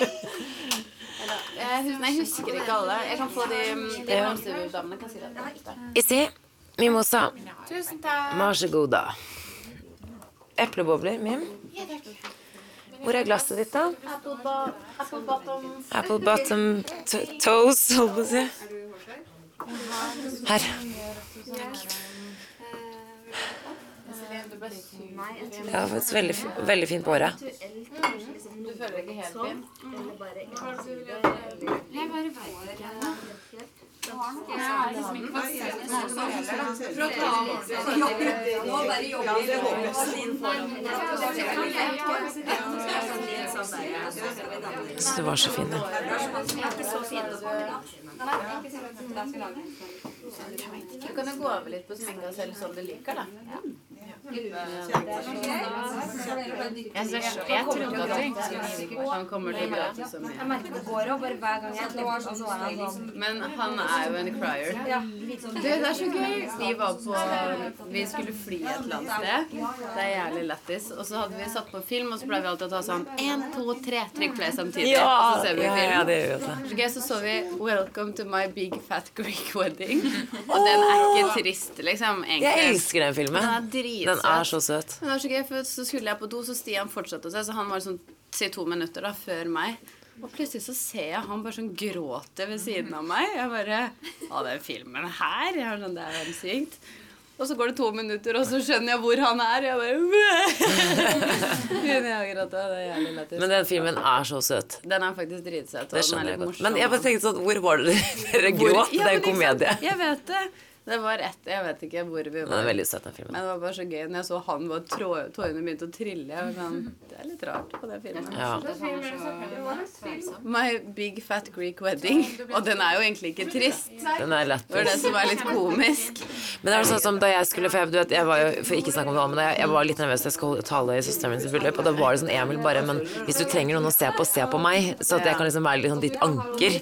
S2: Jeg hus- nei, jeg husker ikke alle. Jeg kan få de, mm, de blomsterdamene kan si det.
S1: Issi, mimosa.
S5: Tusen takk.
S1: Vær så god, da. Eplebobler, Mim. Hvor er glasset ditt, da? Apple bottom to- toes, holdt på å si. Her. Ja, det var et veldig, fi- veldig fint på håret.
S4: sånn
S7: sånn
S1: Jeg syns du var så fin, da.
S2: Du kan jo gå over litt på sminka selv som du liker, da. Jeg, jeg, jeg trodde at du ikke skulle like Han kommer til å gråte så mye.
S7: Jeg merker det går over bare hver gang jeg er sånn, så er han sånn.
S2: Men han er jo en crier. Du, det er så gøy! Vi var på Vi skulle fly et eller annet sted. Det er jævlig lættis. Og så hadde vi satt på film, og så pleier vi alltid å ta sånn én, to, tre, trykk play samtidig. og så ser vi
S1: ja,
S2: film.
S1: ja, det gjør vi.
S2: Så gøy, så så vi 'Welcome to my big fat Greek wedding'. Og den er ikke trist, liksom.
S1: Jeg
S2: Egentlig.
S1: elsker den
S2: Den er
S1: filmen. Den er
S2: dritsøt.
S1: så søt.
S2: Men det var så gøy, for så skulle jeg på do, så Stian fortsatte å se, så han var sånn si to minutter da, før meg. Og plutselig så ser jeg han bare sånn gråte ved siden av meg. Jeg bare Å, den filmen her! Jeg var sånn, det er jo helt sykt. Og så går det to minutter, og så skjønner jeg hvor han er. Og jeg bare Begynner jeg å gråte. Det er jævlig
S1: Men
S2: lættis.
S1: den filmen er så søt.
S2: Den er faktisk dritsøt. og
S1: Det
S2: den er
S1: skjønner jeg
S2: litt
S1: godt.
S2: morsom.
S1: Men jeg bare tenkte sånn, hvor var det dere gråt? Det er
S2: Ja, men
S1: en
S2: ikke sant?
S1: komedie.
S2: Jeg vet det. Det var ett Jeg vet ikke hvor vi
S1: Den er
S2: var.
S1: veldig søt, den filmen.
S2: Men det var bare så gøy når jeg så han var trå, tårene begynte å trille. Jeg var sånn, det er litt rart på den filmen.
S1: Ja.
S2: My Big Fat Greek Wedding. Og den er jo egentlig ikke trist.
S1: Den er
S2: Det var det
S1: lættis.
S2: som var litt komisk.
S1: Men det er sånn som da jeg skulle For jeg, du vet, jeg var jo, for ikke snakke om det, men jeg, jeg var litt nervøs da jeg skulle holde tale i søsteren min sitt bryllup, og da var det sånn Emil bare Men hvis du trenger noen å se på, se på meg, så at jeg kan liksom være litt sånn ditt anker.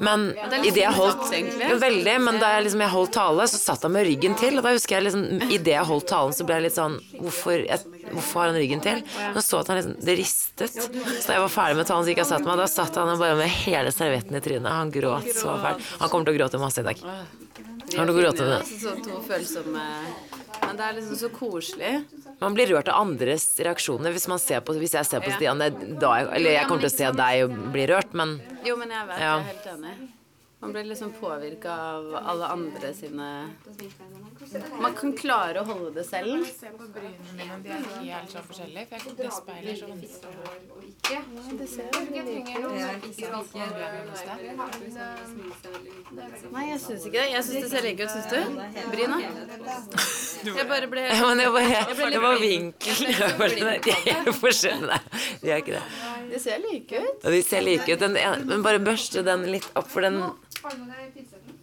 S1: Men i det jeg holdt
S2: egentlig.
S1: jo, Veldig. Men da jeg liksom jeg holdt tale, så satt han med ryggen til, og da husker jeg liksom I det jeg holdt talen, så ble jeg litt sånn Hvorfor, jeg, hvorfor har han ryggen til? Men så at han liksom Det ristet. Så da jeg var ferdig med talen, så gikk jeg og satte meg, og da satt han bare med hele servietten i trynet. Han gråt så fælt. Han kommer til å gråte masse i dag. Han kommer til å gråte
S2: Altså, Så to følsomme Men det er liksom så koselig.
S1: Man blir rørt av andres reaksjoner. Hvis, man ser på, hvis jeg ser på Stian, det er da jeg, eller jeg kommer til å se deg og bli rørt, men
S2: Jo, men jeg vet, jeg
S1: Ja.
S2: er helt enig. Man blir liksom påvirka av alle andre sine Man kan klare å holde det selv.
S5: Se på brynene mine, de er helt sånn forskjellige. For jeg det speiler så vanskelig.
S2: Nei, jeg syns ikke det. Jeg syns det ser like ut, syns du? Bryna? Jeg bare ble
S1: Ja, men det var, det var vinkelen. Jeg var sånn, De er forskjellige. Nei, de er ikke det.
S2: De ser like ut.
S1: Og de ser like ut. Den ene, men bare børste den litt opp, for den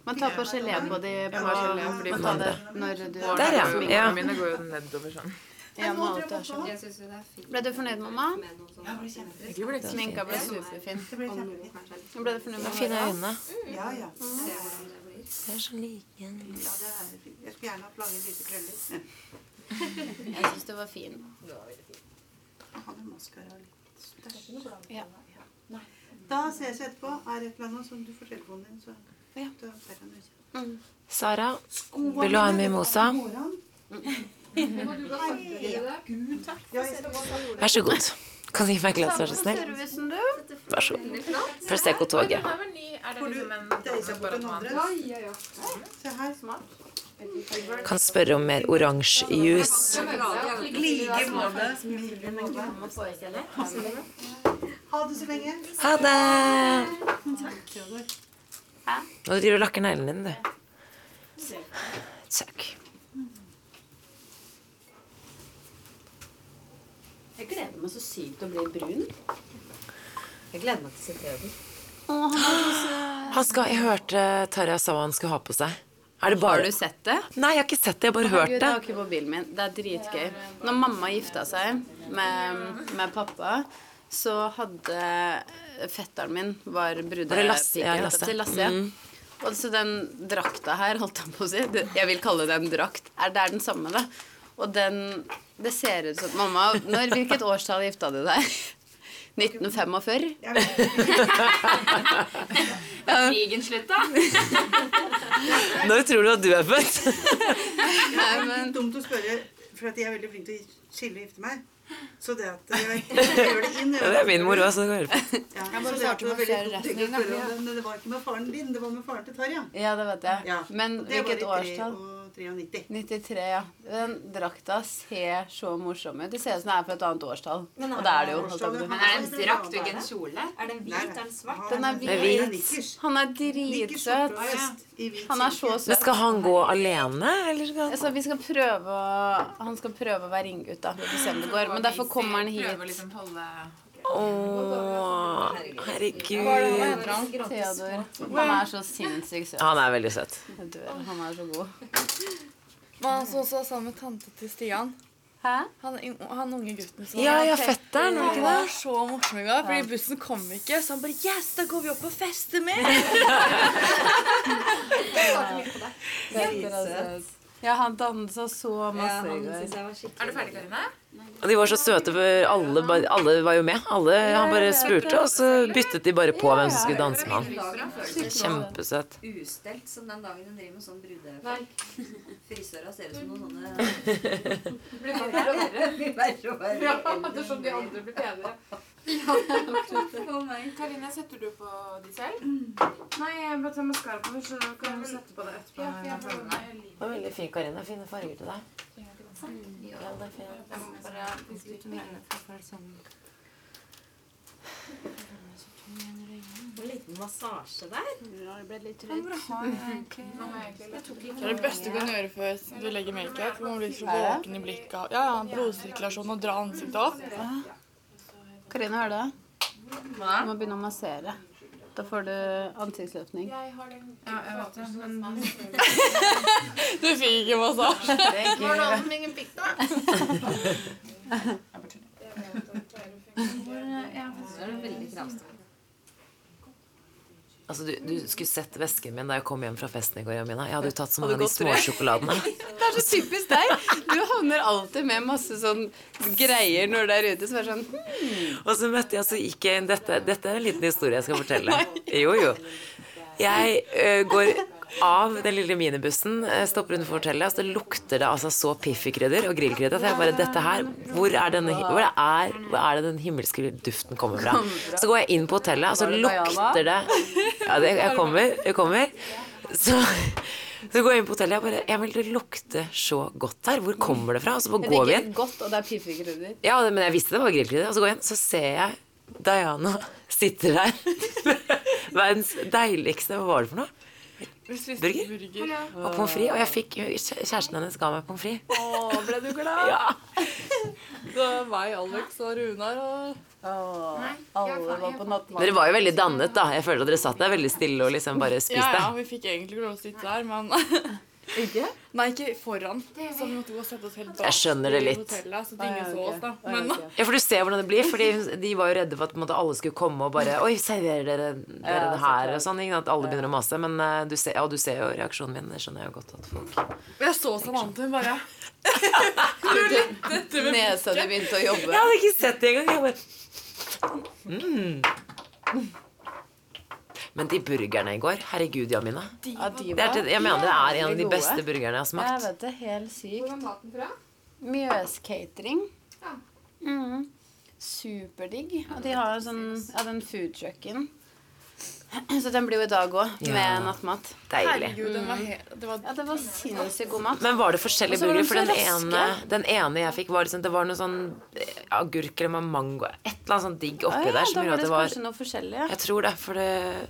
S2: Man tar på gelé på de på, man tar det når du
S1: Der, ja. ja.
S5: Mine går jo nedover sånn.
S2: Ja, mat er sånn. Ble du fornøyd, mamma? Sminka ble superfin. Nå Ble du fornøyd med
S1: Fine
S2: håret?
S1: øyne.
S8: Ja, ja.
S1: De er så like.
S8: Ja, det er det. Jeg skulle gjerne hatt lange, hvite krøller.
S2: Jeg syns du var fin.
S8: Han er maskara litt større. Da ses vi etterpå. Er det et eller annet som du får telefonen din, så Da tar jeg den ut.
S1: Sara, vil du ha en mimosa? Vær så god. Kan du gi meg et glass, vær så snill? Vær så god. Prosecco-toget.
S5: Er ny? Er det liksom en
S8: Deiser bort den andre. Se her.
S1: Kan spørre om mer oransjejuice.
S8: Ha det så lenge.
S1: Ha det! Nå driver du og lakker neglene dine, du. Takk.
S2: Jeg gleder meg så sykt til å bli brun.
S5: Jeg gleder meg til å se TV.
S1: Han skal, jeg hørte Tarjei sa hva han skulle ha på seg. Er det
S2: Har
S1: bare
S2: du sett det?
S1: Nei, jeg har ikke sett det, jeg har bare hørt
S2: Herregud,
S1: det.
S2: jeg har ikke mobilen min. Det er dritgøy. Når mamma gifta seg med, med pappa, så hadde eh, fetteren min var
S1: Var det Lasse? Mm. Ja,
S2: brudepike
S1: Lasse.
S2: til Lasse. Og så den drakta her, holdt jeg på å si, det- jeg vil kalle det en drakt, er det er den samme, da. Og den Det ser ut som Mamma, når, hvilket årstall gifta du deg? 1945?
S6: Krigen slutta.
S1: Når tror du at du er født?
S2: Nei, men
S8: Dumt å spørre, for at jeg er veldig flink til å skille og gifte meg. Så det at jeg, jeg gjør det inn
S1: Ja, det er min mor òg, så du kan høre på.
S8: Ja, så det at det var veldig dumt ikke å spørre om det, men det var ikke med faren din, det var med faren til Tarja.
S2: Ja, det vet jeg.
S8: Ja.
S2: Men
S8: Det var i
S2: hvilket årstall?
S8: 93.
S2: 93, ja. Den drakta ser så morsom ut. Det ser ut som det er fra et annet årstall.
S6: Men er
S2: og det er det
S6: det
S2: jo.
S8: årstallet?
S2: holdt jeg på å si.
S6: Men er det en drakt og ikke en kjole? Er den hvit?
S8: Nei,
S6: Er den svart?
S2: Den er
S8: Nei,
S1: hvit.
S8: den er nikkers.
S2: Han er
S8: Nikkers skjorte
S2: dritsøt.
S8: og vest i hvit
S2: Han er så
S8: silke.
S1: Men
S2: søt.
S1: skal han gå alene, eller skal han
S2: Så vi skal prøve å, han skal prøve å være ringgutt, da. Vi får se om det går. Men derfor kommer han
S4: Prøver å
S2: hit.
S4: liksom holde
S1: Åh, herregud.
S2: Theodor. Han er så sinnssykt søt.
S1: Han er veldig søt.
S2: Jeg dør. Han er så god.
S9: Men han som også er sammen med tante til Stian.
S2: Hæ?
S9: Han, han unge gutten som
S1: Ja, ja, fetteren, er det
S9: Han
S1: ikke
S9: var
S1: det?
S9: så morsom i går, fordi bussen kom ikke. Så han bare Yes, da går vi opp og fester mer!
S2: Ja, han dansa så
S7: Ja,
S2: masse i
S7: han
S2: går.
S7: synes jeg var skikkelig
S4: Er du ferdig, Karine?
S1: Og de var så søte, for alle, ba- alle var jo med. Alle, han bare spurte, og så byttet de bare på hvem som skulle danse med han. Kjempesøt.
S7: ustelt som den dagen hun driver med sånn brudefolk. Frisøra ser ut som noen sånne
S6: Blir verre og verre.
S7: Blir verre og verre.
S3: Ettersom de andre blir penere.
S7: Å, nei.
S3: Karine, setter du på de selv? Nei, jeg bare tar maskara på først, så kan du sette på det etterpå. Ja, for jeg har den
S1: Det var veldig fin, Karina. Fine farger til deg.
S3: Jeg må bare fiske litt med øynene for å få det sånn.
S7: En liten massasje der.
S3: Jeg tok ikke
S9: Det er det beste du kan gjøre før du legger makeup. for Man blir så våken i blikket. Ja, ja, blodsirkulasjon og dra ansiktet opp.
S2: Karina, hører du det? Du må begynne å massere. Da får du ansiktsløftning.
S4: Ja, jeg vet det, men
S9: Du fikk ikke massasje.
S1: Altså, du, du skulle sett vesken min da jeg kom hjem fra festen i går, Jamina. Jeg hadde jo tatt så mange av de småsjokoladene.
S2: Det er så typisk deg. Du havner alltid med masse sånn greier når du er ute. Så er det sånn hm,
S1: Og så møtte jeg, så gikk jeg inn Dette, dette er en liten historie jeg skal fortelle. Jo, jo. Jeg ø, går av den lille minibussen, ø, stopper utenfor hotellet, og så lukter det altså så piffikrydder og grillkrydder at jeg bare Dette her, hvor er, denne, hi- hvor er, hvor er det den himmelske duften kommer fra? Så går jeg inn på hotellet, og så lukter det Ja, det, jeg kommer. Jeg kommer. Så så går jeg inn på hotellet og bare Jeg vil det lukter så godt her. Hvor kommer det fra? Og så bare
S2: Det
S1: går vi
S2: er
S1: inn.
S2: ikke godt, og det er piffikrydder.
S1: Ja, det- men jeg visste det var grillkrydder. Og så går jeg inn, så ser jeg Diana sitter der. Verdens deiligste Hva var det for noe?
S9: Vi spiste
S1: Burger?
S9: burger.
S1: Og pommes frites. Og jeg fikk, kjæ- kjæresten hennes ga meg pommes frites.
S9: Å, ble du glad?
S1: Ja.
S9: Så meg, Alex og Runar og
S2: Alle var på
S1: Dere
S2: nattmat.
S1: var jo veldig dannet, da. Jeg føler at dere satt der veldig stille og liksom bare spiste.
S9: Ja, ja, vi fikk egentlig ikke lov å sitte der, men Ikke? Nei, ikke foran. Så vi måtte gå og sette oss helt bak.
S1: Jeg skjønner det
S9: i
S1: litt.
S9: Hotellet, så de
S2: Nei,
S9: ingen så
S2: ok.
S9: oss, da.
S2: Nei,
S9: Men
S2: ok.
S1: Ja, for du ser hvordan det blir. Fordi hun- de var jo redde for at på en måte, alle skulle komme og bare Oi, serverer dere, dere
S2: Ja,
S1: det
S2: så
S1: her?
S2: klart.
S1: Og sånn. ikke sant? At alle begynner å mase. Men eh, du ser, ja, du ser jo reaksjonen min. Det skjønner jeg jo godt at folk
S9: jeg så Samantha, hun bare
S2: Nesa di begynte å jobbe.
S1: Jeg hadde ikke sett det engang. Jeg bare mm. Men de burgerne i går, herregud, Jamina.
S2: Ja, de
S1: Det er,
S2: var
S1: til- jeg mener det er en av de
S2: jævlig
S1: beste
S2: gode.
S1: burgerne jeg har
S2: Jeg
S1: smakt.
S2: vet det. Helt sykt.
S6: Hvor var maten fra?
S2: Mjøscatering.
S6: Ja.
S2: Mm. Superdigg. Og de har jo sånn Ja, den foodtrucken. Så den blir jo i dag òg, med
S1: Ja.
S2: nattmat.
S1: Deilig.
S9: Herregud, den
S2: Mm.
S9: var helt Det var
S2: Ja, det var sinnssykt god mat.
S1: Men var det forskjellige
S2: Og så var de
S1: burgere? For den
S2: så raske.
S1: ene, den ene jeg fikk, var liksom, det var noe sånn eh, agurk eller mango Et eller annet sånn digg oppi der
S2: Ja, da
S1: som gjorde
S2: var
S1: at
S2: det
S1: det var
S2: kanskje noe forskjellig. Ja.
S1: Jeg tror det, for det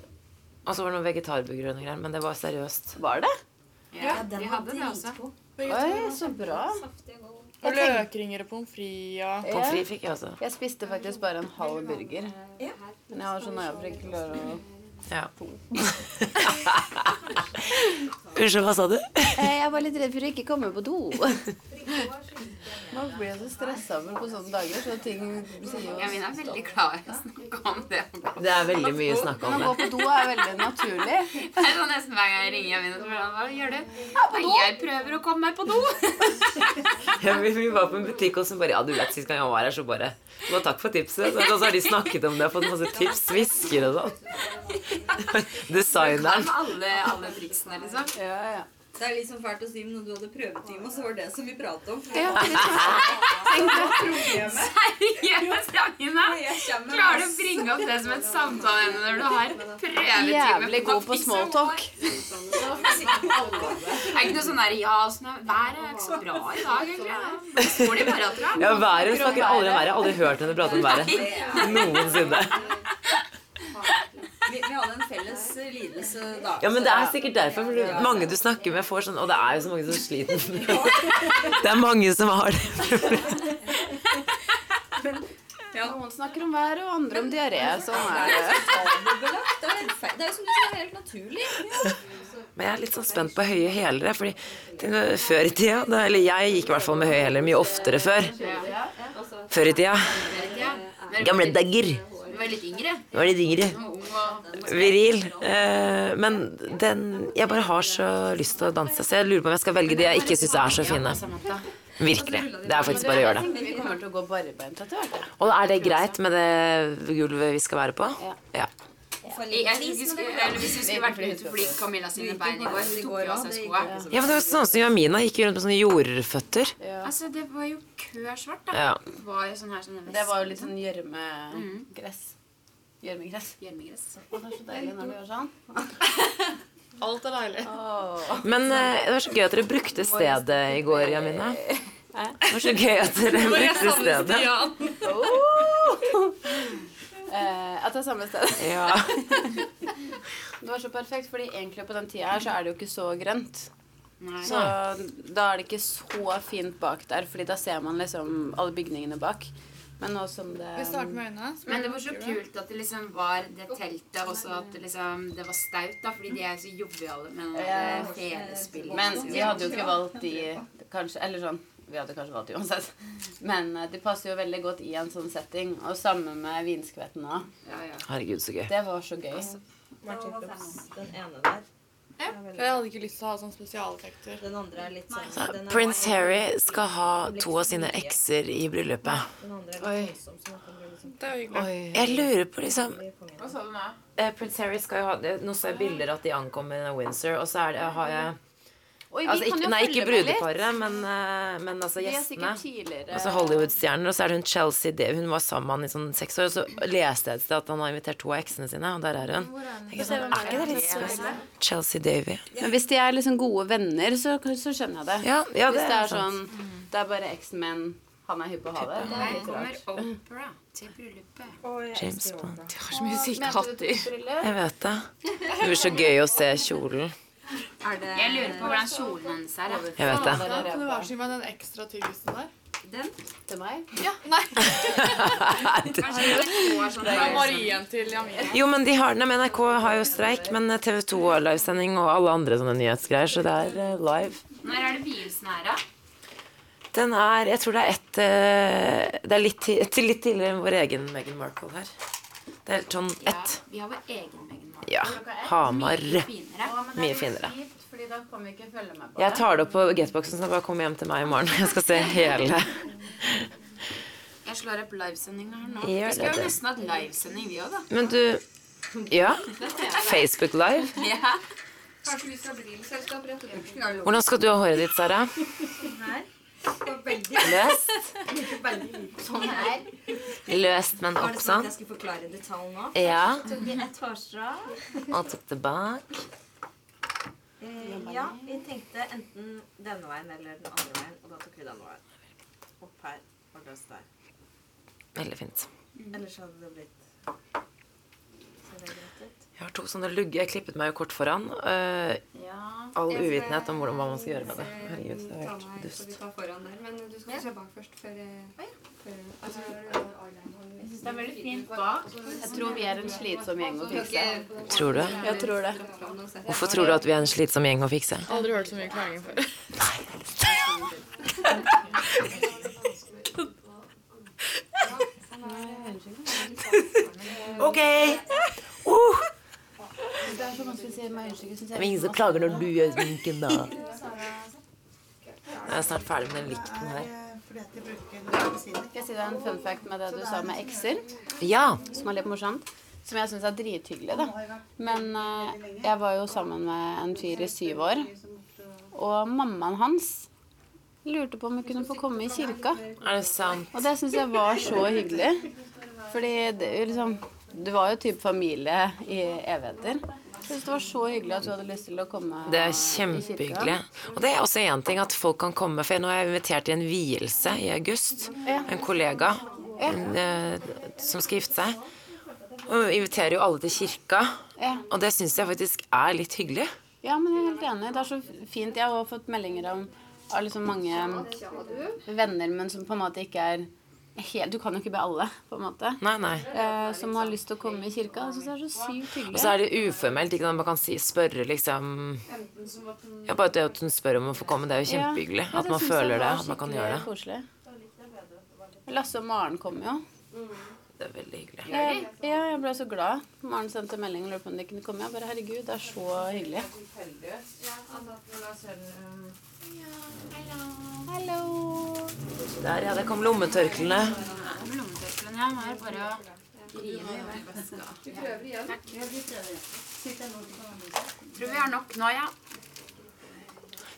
S1: Og så var det noen vegetarburgere og noe greier, men det var seriøst.
S2: Var det?
S7: Ja, den var altså.
S6: hadde det også.
S7: dritgod.
S2: Oi, så bra.
S7: Saftig og god.
S9: Og løkringer og pommes frites og
S1: Pommes frites fikk jeg også.
S2: Jeg spiste faktisk bare en halv burger. Men jeg har sånn så nøye for ikke klarer å
S1: Ja. Unnskyld, hva sa du?
S2: Eh, Jeg var litt redd for å ikke komme på do. Man blir så stressa over på sånne dager. Så ting sier jo
S5: Jeg mener, jeg er veldig glad jeg snakker om det.
S1: Det er veldig mye snakk
S2: Men
S1: om
S2: å
S1: det.
S2: gå på do er veldig naturlig.
S5: Det er sånn nesten hver gang jeg ringer Jamina, så blir han hva gjør du? Nei, jeg prøver å komme meg på do.
S1: Ja, vi, vi var på en butikk, og så bare Ja, du vet, sist gang jeg var her, så bare det var Takk for tipset. Så, og så har de snakket om det og fått masse tips. Hvisker og sånn. Designeren.
S5: Med alle, alle triksene, liksom.
S7: Det er litt sånn fælt å si, men når du hadde prøvetime, og så var det som vi pratet om.
S5: Seriøst, Jamina. Klarer du å bringe opp det som et samtaleemne når du har prøvetime?
S2: Jævlig god på smalltalk.
S5: Det er ikke noe sånn der ja, sånn, er- været er ikke så bra i dag, egentlig. Står de bare etter deg?
S1: Ja, været hun snakker aldri om været. Jeg har Aldri hørt henne prate om været. Noensinne.
S7: Vi, vi hadde en felles eh, lidelse da.
S1: Ja, men det er sikkert derfor. For du- mange du snakker med, får sånn Og det er jo så mange som sliter med det. Det er mange som har det.
S2: Noen snakker om været, og andre om diaré. Sånn er det.
S7: Tabubelagt. Det er helt feil. Det er jo som du sier, helt naturlig.
S1: Men jeg er litt sånn spent på høye hæler. jeg, Fordi til- før i tida da- Eller jeg gikk i hvert fall med høye hæler mye oftere før. Før i tida. Gamle dager.
S5: Du var litt yngre.
S1: Nå er de yngre. Viril. Eh, men den Jeg bare har så lyst til å danse, så jeg lurer på om jeg skal velge de jeg ikke syns er så fine. Virkelig. Det er faktisk bare å gjøre det.
S2: Vi kommer til å gå barbeint etter hvert. ja.
S1: Og er det greit med det gulvet vi skal være på? Ja.
S5: Jeg jeg synes vi skulle, eller hvis vi skulle vært ute fordi Camilla sine bein i går, så tok vi av seg skoene.
S1: Ja, men det var sånn som Jamina gikk rundt med sånne jordføtter.
S5: Altså, det var jo kørsvart, da.
S1: Ja.
S5: Det var jo sånn her sånn
S2: Det var jo litt sånn gjørmegress. Gjørmegress.
S5: gjørmegress.
S2: Å, Det er så deilig når du gjør sånn.
S9: Alt er deilig.
S1: Men eh, det var så gøy at dere brukte stedet i går, Jamina. Det var så gøy at dere brukte stedet.
S2: Eh, at det er samme sted.
S1: Ja.
S2: Det var så perfekt, fordi egentlig på den tida her så er det jo ikke så grønt.
S5: Nei.
S2: Så da er det ikke så fint bak der, fordi da ser man liksom alle bygningene bak. Men nå som det
S9: Vi starter med øynene. så
S5: Men det var så kult at det liksom var det teltet, og så at det liksom det var staut, da, fordi de er så joviale med det felespillet.
S2: Men vi hadde jo ikke valgt de kanskje, Eller sånn Vi hadde kanskje valgt de uansett. Men eh, de passer jo veldig godt i en sånn setting. Og samme med vinskvetten òg.
S5: Ja, ja.
S1: Herregud, så gøy.
S2: Det var så gøy.
S5: Altså,
S11: Den ene der.
S9: Jeg hadde ikke lyst til å ha sånn spesialeffekter.
S11: Den andre er litt sånn den er-
S1: Prins Harry skal ha to av sine ekser i bryllupet.
S11: Den andre er litt voldsom, så nå kan det bli liksom
S9: Det er jo hyggelig.
S1: Jeg lurer på liksom
S11: kongen.
S3: Hva sa du nå?
S1: eh, Prins Harry skal jo ha det- Nå så jeg bilder at de ankommer Windsor, og så er det eh, har jeg
S2: Oi, vi
S1: altså,
S2: kan
S1: ikke,
S2: jo
S1: Nei,
S2: følge
S1: ikke
S2: med litt.
S1: brudeparet, men, eh, men altså
S2: Vi er
S1: gjestene.
S2: sikkert tidligere
S1: Altså Hollywood-stjerner, og så er det hun Chelsea Day. Hun var sammen med han i sånn seks år, og så leste jeg et sted at han har invitert to av eksene sine, og der er hun. Tenker jeg Sånn, er ikke det litt spesielt? Chelsea Davy.
S2: Men hvis de er liksom gode venner, så, så skjønner jeg det.
S1: Ja, ja,
S2: Hvis
S1: det er sant.
S2: sånn Det er bare eksen min, han er hypp på å ha det. det er
S5: Her
S2: litt
S5: kommer
S2: rart.
S5: Opera til bryllupet.
S1: James Bond.
S5: De har så mye syke hatter.
S1: Jeg vet det. Det blir så gøy å se kjolen.
S7: Er det
S5: Jeg lurer på hvordan kjolen hennes er. jeg.
S1: Jeg vet det.
S9: Da kan du være så med den ekstra tyggisen der.
S7: den?
S2: Til meg?
S5: Kanskje hun går sånn
S9: Fra
S2: liksom-
S5: der.
S9: Marien til Jamina.
S1: Jo, men de har den. Men NRK har jo streik, men TV 2 har livesending og alle andre sånne nyhetsgreier, så det er eh, live.
S5: Når er det vielsen her, da?
S1: Den er Jeg tror det er ett eh, Det er litt, ti- til litt tidligere enn vår egen Meghan Markle her. Det er sånn ett.
S5: Vi har vår egen Meghan Markle.
S1: Ja. Hamar.
S5: Finere.
S1: Mye finere.
S2: Kjipt, fordi da kan vi ikke følge med på
S1: Jeg tar det opp på getboxen, så jeg bare kommer hjem til meg i morgen. Jeg skal se hele.
S5: Jeg slår opp livesendinga her nå.
S1: Gjør
S5: Vi skulle
S1: det.
S5: jo nesten hatt livesending, vi òg, da.
S1: Men du Ja? Facebook Live?
S11: Kanskje vi skal bli litt selskap rett og slett.
S1: Hvordan skal du ha håret ditt, Sara?
S11: Det var veldig
S1: Løst?
S7: Sånn her.
S1: Løst, men
S11: Var
S1: opp
S11: det sånn at
S1: sånn?
S11: jeg skulle forklare detalj nå?
S1: Ja.
S11: Tok vi ett hårstrå?
S1: Og tok det bak.
S11: Eh, ja, vi tenkte enten denne veien eller den andre veien, og da tok vi denne veien. Opp her og løs der.
S1: Veldig fint.
S11: Ellers hadde det blitt Ser det greit ut?
S1: Jeg har to sånne lugger. Jeg klippet meg jo kort foran. øh, all uvitenhet om hvordan, hva man skal gjøre med det. Herregud, det har vært dust.
S11: foran der, men du skal
S9: Jeg ser bak først, før jeg før- altså,
S6: Jeg syns det er veldig fint bak.
S2: Jeg tror vi er en slitsom gjeng å fikse.
S1: Tror du?
S2: Jeg tror det.
S1: Hvorfor tror du at vi er en slitsom gjeng å fikse?
S6: Aldri hørt så mye klaging før.
S1: OK!
S2: Det er så vanskelig å si meg unnskyld.
S1: Det er ingen som Altså, klager når du gjør sminken, da. Jeg er snart ferdig med den likten her.
S2: Skal jeg si deg en fun fact med det du sa med ekser?
S1: Ja.
S2: Som er litt morsomt. Som jeg syns er drithyggelig, da. Men eh, jeg var jo sammen med en fyr i syv år. Og mammaen hans lurte på om hun kunne få komme i kirka.
S1: Er det sant?
S2: Og det syns jeg var så hyggelig. Fordi det, er jo liksom, du var jo type familie i evigheter. Jeg syns det var så hyggelig at du hadde lyst til å komme.
S1: Det er kjempehyggelig. Og det er også én ting at folk kan komme, for nå er jeg invitert til en vielse i august. En kollega en, eh, som skal gifte seg. Og inviterer jo alle til kirka.
S2: Ja.
S1: Og det syns jeg faktisk er litt hyggelig.
S2: Ja, men jeg er helt enig. Det er så fint. Jeg har også fått meldinger om av liksom mange venner, men som på en måte ikke er helt Du kan jo ikke be alle, på en måte.
S1: Nei, nei.
S2: Eh, som har lyst til å komme i kirka. Jeg syns det er så sykt hyggelig.
S1: Og så er det uformelt. Ikke sant? Man kan si, spørre liksom ja, Bare det at hun spør om å få komme, det er jo kjempehyggelig. At man føler det. At man kan gjøre det.
S2: Koselig. Lasse og Maren kom jo.
S1: Det er veldig hyggelig.
S2: Jeg, ja, jeg ble så glad. Maren sendte melding og lurte på om de kunne komme. Jeg bare herregud, det er så hyggelig. Hallo.
S1: Der, ja. Der kom lommetørklærne.
S6: Lommetørklærne her er bare å Tror vi har nok nå, ja.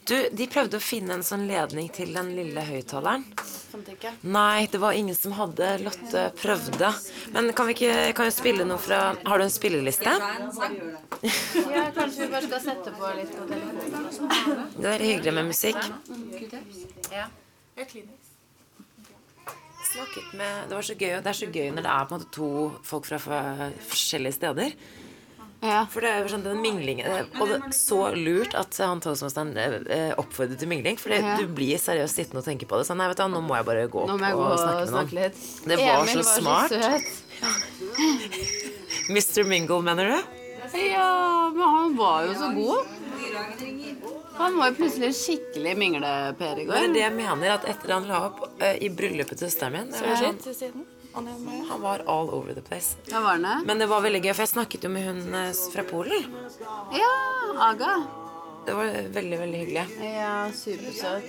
S1: Du, de prøvde å finne en sånn ledning til den lille høyttaleren.
S2: Fant ikke.
S1: Nei, det var ingen som hadde. Lotte prøvde. Men kan vi ikke kan vi spille noe fra Har du en spilleliste?
S2: Ja, kanskje vi bare skal sette på litt på telefonen. og sånn.
S1: Det er hyggelig med musikk.
S6: Ja. Kleenex.
S1: Snakket med Det var så gøy, og det er så gøy når det er på en måte to folk fra f- forskjellige steder. For det er jo sånn den minglingen eh, Og det er så lurt at han toastmasteren eh, eh, oppfordret til mingling. For
S2: Ja.
S1: du blir seriøst sittende og tenke på det. Så nei, vet du, hva, nå må jeg bare gå opp
S2: Nå må jeg gå
S1: og
S2: og
S1: snakke med noen.
S2: snakke litt.
S1: Det var
S2: Emil
S1: så smart.
S2: Var så
S1: Mr. Mingle, mener du?
S2: søt. Ja, men han var jo så god. Han var jo plutselig skikkelig mingle-Per i
S1: Det er
S2: går.
S1: det jeg mener, at etter han la opp eh, i bryllupet til søsteren min, så var jeg sånn, han var all over the place.
S2: Ja, var han det?
S1: Men det var veldig gøy, for jeg snakket jo med hun eh, fra Polen.
S2: Ja, Aga.
S1: Det var veldig, veldig hyggelig.
S2: Ja, supersøt.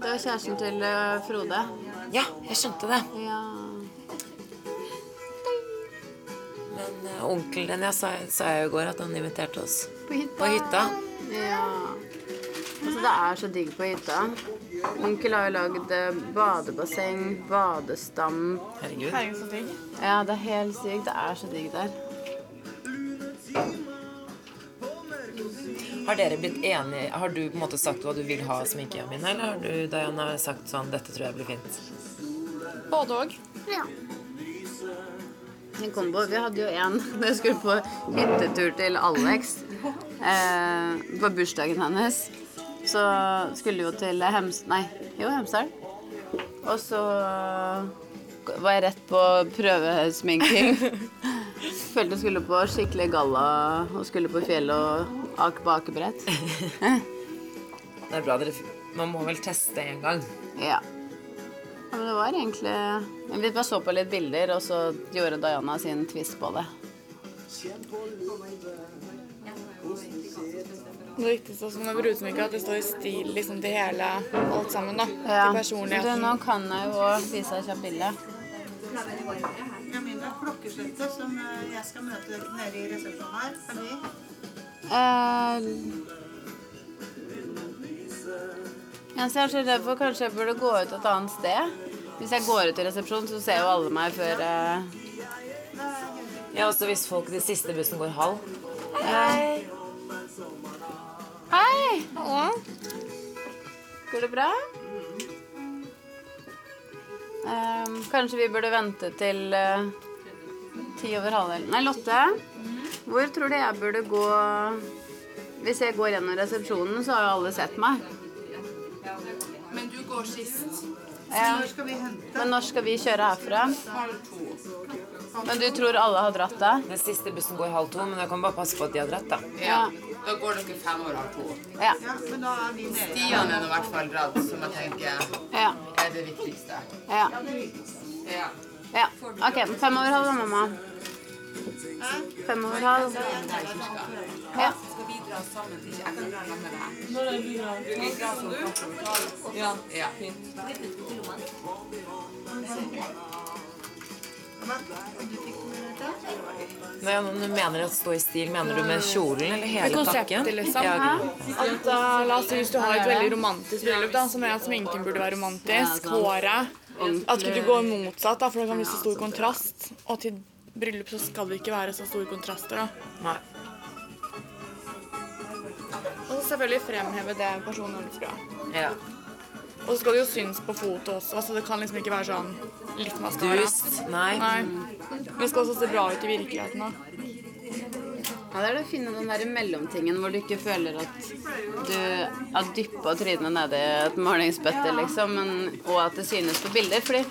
S2: Det var kjæresten til eh, Frode.
S1: Ja, jeg skjønte det.
S2: Ja.
S1: Men eh, onkelen din, jeg sa, sa jeg jo i går at han inviterte oss
S2: På hytta.
S1: på hytta.
S2: Ja. Altså, det er så digg på hytta. Onkel har jo lagd eh, badebasseng, badestam.
S1: Herregud.
S2: Ja, det er helt sykt. Det er så digg der.
S1: Har dere blitt enige? Har du på en måte sagt hva du vil ha av sminken min, eller har du, Diana, sagt sånn, dette tror jeg blir fint?
S6: Både òg.
S2: En kombo. Vi hadde jo en da jeg skulle på hyttetur til Alex eh, på bursdagen hennes. Så skulle vi jo til Hems... Nei, jo, Hemsedal. Og så var jeg rett på prøvesminking. Følte jeg skulle på skikkelig galla og skulle på fjellet og ake på akebrett.
S1: Det er bra dere, f- man må vel teste en gang.
S2: Ja. Ja, Men det var egentlig Vi bare så på litt bilder, og så gjorde Diana sin twist på det.
S6: Det viktigste også med brudsminke er at det står i stil liksom, til hele alt sammen. da.
S2: Ja.
S6: Til
S2: Du,
S6: personligheten.
S2: nå kan jeg jo vise deg kjapt bilde.
S8: Ja, min er klokkeslettet som eh, jeg skal møte nede i resepsjonen her. Fordi
S2: Eh, ja, så jeg er så redd for kanskje jeg burde gå ut et annet sted. Hvis jeg går ut i resepsjonen, så ser jo alle meg før eh,
S1: Ja, også hvis folk i den siste bussen går halv.
S2: Hei! Går det bra? Ehm, kanskje vi burde vente til eh, ti over halv eller Nei, Lotte. Hvor tror du jeg burde gå Hvis jeg går gjennom resepsjonen, så har jo alle sett meg.
S12: Du går sist.
S2: Ja.
S13: Når skal vi hente?
S2: Men når skal vi kjøre herfra?
S5: Halv to.
S2: Men du tror alle har dratt da?
S1: Den siste bussen går halv to, men jeg kan bare passe på at de har dratt, da.
S5: Ja. Da går dere fem år halv to.
S2: Ja.
S13: men da er vi nede.
S5: Stian er nå i hvert fall dratt, som jeg tenker
S2: Ja.
S5: er det viktigste.
S2: Ja.
S5: Ja.
S2: ja. OK. Fem over halv, da, mamma. Fem over halv. Ja.
S5: Skal vi dra sammen til Jeg kan dra sammen med deg. Du kan dra sammen med deg. Ja.
S1: Når jeg når du mener at stå i stil, mener du med kjolen eller
S9: Med
S1: hele pakken?
S9: konseptet, liksom.
S1: Ja,
S9: Hæ? At da, la oss si Hvis du har et veldig romantisk bryllup, da, så mener jeg at sminken burde være romantisk. Håret. At ikke du går motsatt, da, for det kan bli så stor kontrast. Og til bryllup så skal det ikke være så store kontraster. da.
S1: Nei.
S9: Og så selvfølgelig fremheve det personen er fra.
S1: Ja.
S9: Og så skal det jo synes på foto også, så det kan liksom ikke være sånn litt maskara.
S1: Dust. Nei.
S9: Men det skal også se bra ut i virkeligheten. da.
S2: Ja, det er det å finne den der mellomtingen hvor du ikke føler at du har dyppa trynet nedi et malingsbøtte, liksom, men, og at det synes på bilder. Fordi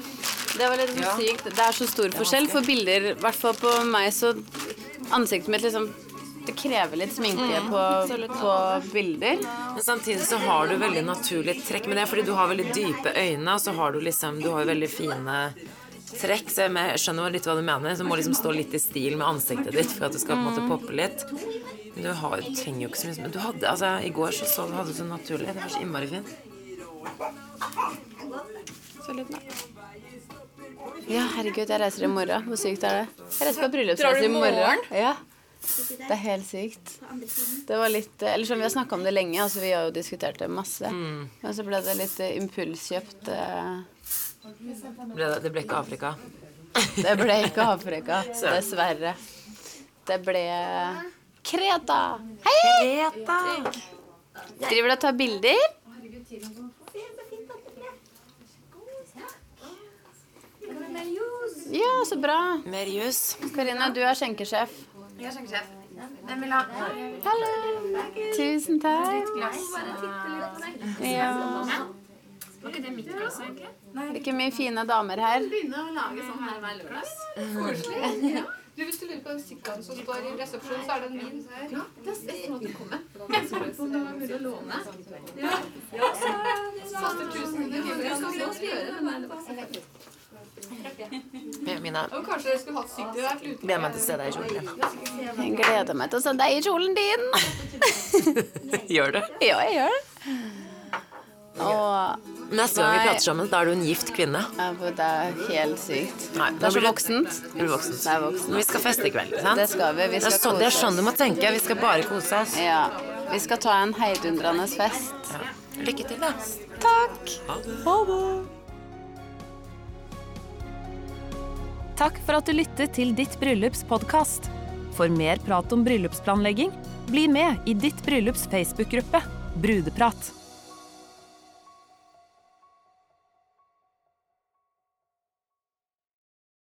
S2: det var litt sånn
S1: Ja.
S2: sykt. Det er så stor forskjell, for bilder, i hvert fall på meg, så Ansiktet mitt liksom Det krever litt sminke på, på bilder.
S1: Men samtidig så har du veldig naturlig trekk med det, fordi du har veldig dype øyne, og så har du liksom Du har jo veldig fine trekk, så jeg me- skjønner jo litt hva du mener. Så du må liksom stå litt i stil med ansiktet ditt for at det skal på en måte poppe litt. Men du har, du trenger jo ikke så mye Men du hadde Altså, i går så, så du hadde så naturlig Det var så innmari fint.
S9: Så litt, nei.
S2: Ja, herregud, jeg reiser i morgen. Hvor sykt er det? Jeg reiser på
S9: Drar du
S2: bryllupsreise
S9: i
S2: i morgen.
S9: morgen?
S2: Ja. Det er helt sykt. Det var litt eh, Eller sånn, vi har snakka om det lenge, altså vi har jo diskutert det masse.
S9: Mm.
S2: Men så ble det litt eh, impulskjøpt. eh,
S1: Ble det, det ble ikke Afrika.
S2: Det ble ikke Afrika,
S1: Så.
S2: dessverre. Det ble Kreta. Hei! Driver du og tar bilder? Ja, så bra.
S1: Mer jus.
S2: Karina, du er skjenkesjef.
S14: Jeg er skjenkesjef. Hvem vil ha
S2: Hallo. Tusen takk. Ja.
S14: Var ikke det mitt glass, egentlig?
S2: Ikke mye fine damer her.
S14: Begynne å lage sånn her hver lørdag.
S15: Du, Hvis du lurer på den sykkelen som står i resepsjonen, så er det en min.
S14: Ja, det er sånn at du kommer. Jeg så på om det var mulig å låne. Ja, så satte 1000 kroner. Jeg skal også gjøre den der.
S1: Mina,
S15: Og kanskje dere skulle hatt sykkel der til
S1: gleder meg til å se deg i kjolen.
S2: Jeg gleder meg til å se deg i kjolen din.
S1: Gjør det.
S2: Ja, jeg gjør det. Og
S1: Neste gang vi
S2: Nei.
S1: prater sammen, da er du en gift kvinne.
S2: ja, for det er helt sykt.
S1: Nei,
S2: Det er så
S1: blir
S2: voksent.
S1: Du blir voksen.
S2: Det er voksent.
S1: Men vi skal feste i kveld. sant?
S2: Det skal vi.
S1: Det
S2: Vi
S1: er
S2: skal
S1: sånn, det er
S2: kose
S1: sånn du må tenke. Vi skal bare kose oss.
S2: Ja. Vi skal ta en heidundrende fest.
S1: Lykke til, da.
S2: Takk. Ha det.
S16: Takk for at du lyttet til Ditt bryllups podkast. For mer prat om bryllupsplanlegging, bli med i Ditt bryllups Facebook-gruppe Brudeprat.